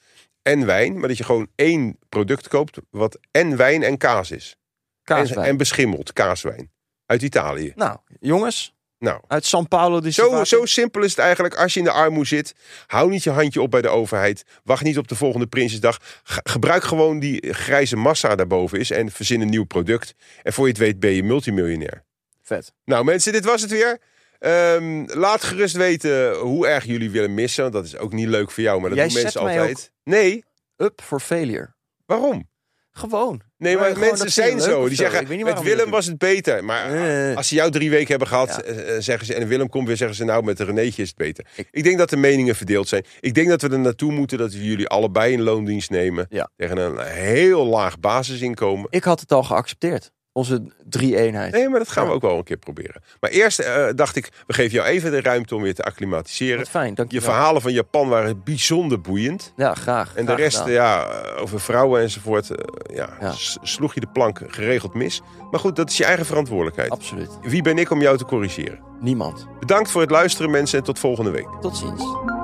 S1: En wijn, maar dat je gewoon één product koopt wat en wijn en kaas is.
S2: Kaaswijn.
S1: En, en beschimmeld kaaswijn. Uit Italië.
S2: Nou, jongens.
S1: Nou,
S2: Uit São Paulo. Dus
S1: zo, zo simpel is het eigenlijk als je in de armoede zit. Hou niet je handje op bij de overheid. Wacht niet op de volgende Prinsjesdag. Ge- gebruik gewoon die grijze massa daarboven is en verzin een nieuw product. En voor je het weet ben je multimiljonair.
S2: Vet.
S1: Nou mensen, dit was het weer. Ehm, laat gerust weten hoe erg jullie willen missen. Want dat is ook niet leuk voor jou, maar dat
S2: Jij
S1: doen mensen
S2: zet mij
S1: altijd. Nee,
S2: Up for failure.
S1: waarom?
S2: Gewoon.
S1: Nee,
S2: Ja,
S1: maar
S2: gewoon,
S1: mensen
S2: dat vind
S1: zijn
S2: je leuk
S1: zo.
S2: of
S1: Die
S2: zo.
S1: zeggen,
S2: Ik weet niet
S1: met
S2: waarom je dat
S1: Willem was het beter. Maar
S2: Nee.
S1: als ze jou drie weken hebben gehad,
S2: Ja.
S1: eh, eh, zeggen ze, en Willem komt weer, zeggen ze, nou, met Renéetje is het beter. Ik,
S2: Ik-
S1: denk dat de meningen verdeeld zijn. Ik denk dat we er naartoe moeten dat we jullie allebei in loondienst nemen.
S2: Ja.
S1: Tegen een heel laag basisinkomen.
S2: Ik had het al geaccepteerd. Onze drie-eenheid.
S1: Nee, maar dat gaan we
S2: Ja.
S1: ook wel een keer proberen. Maar eerst eh, dacht ik, we geven jou even de ruimte om weer te acclimatiseren.
S2: Wat fijn, dank
S1: Je
S2: je
S1: verhalen van Japan waren bijzonder boeiend.
S2: Ja, graag.
S1: En de
S2: graag
S1: rest,
S2: gedaan.
S1: ja, over vrouwen enzovoort, eh, ja,
S2: Ja.
S1: s- sloeg je de plank geregeld mis. Maar goed, dat is je eigen verantwoordelijkheid.
S2: Absoluut.
S1: Wie ben ik om jou te corrigeren?
S2: Niemand.
S1: Bedankt voor het luisteren mensen en tot volgende week.
S2: Tot ziens.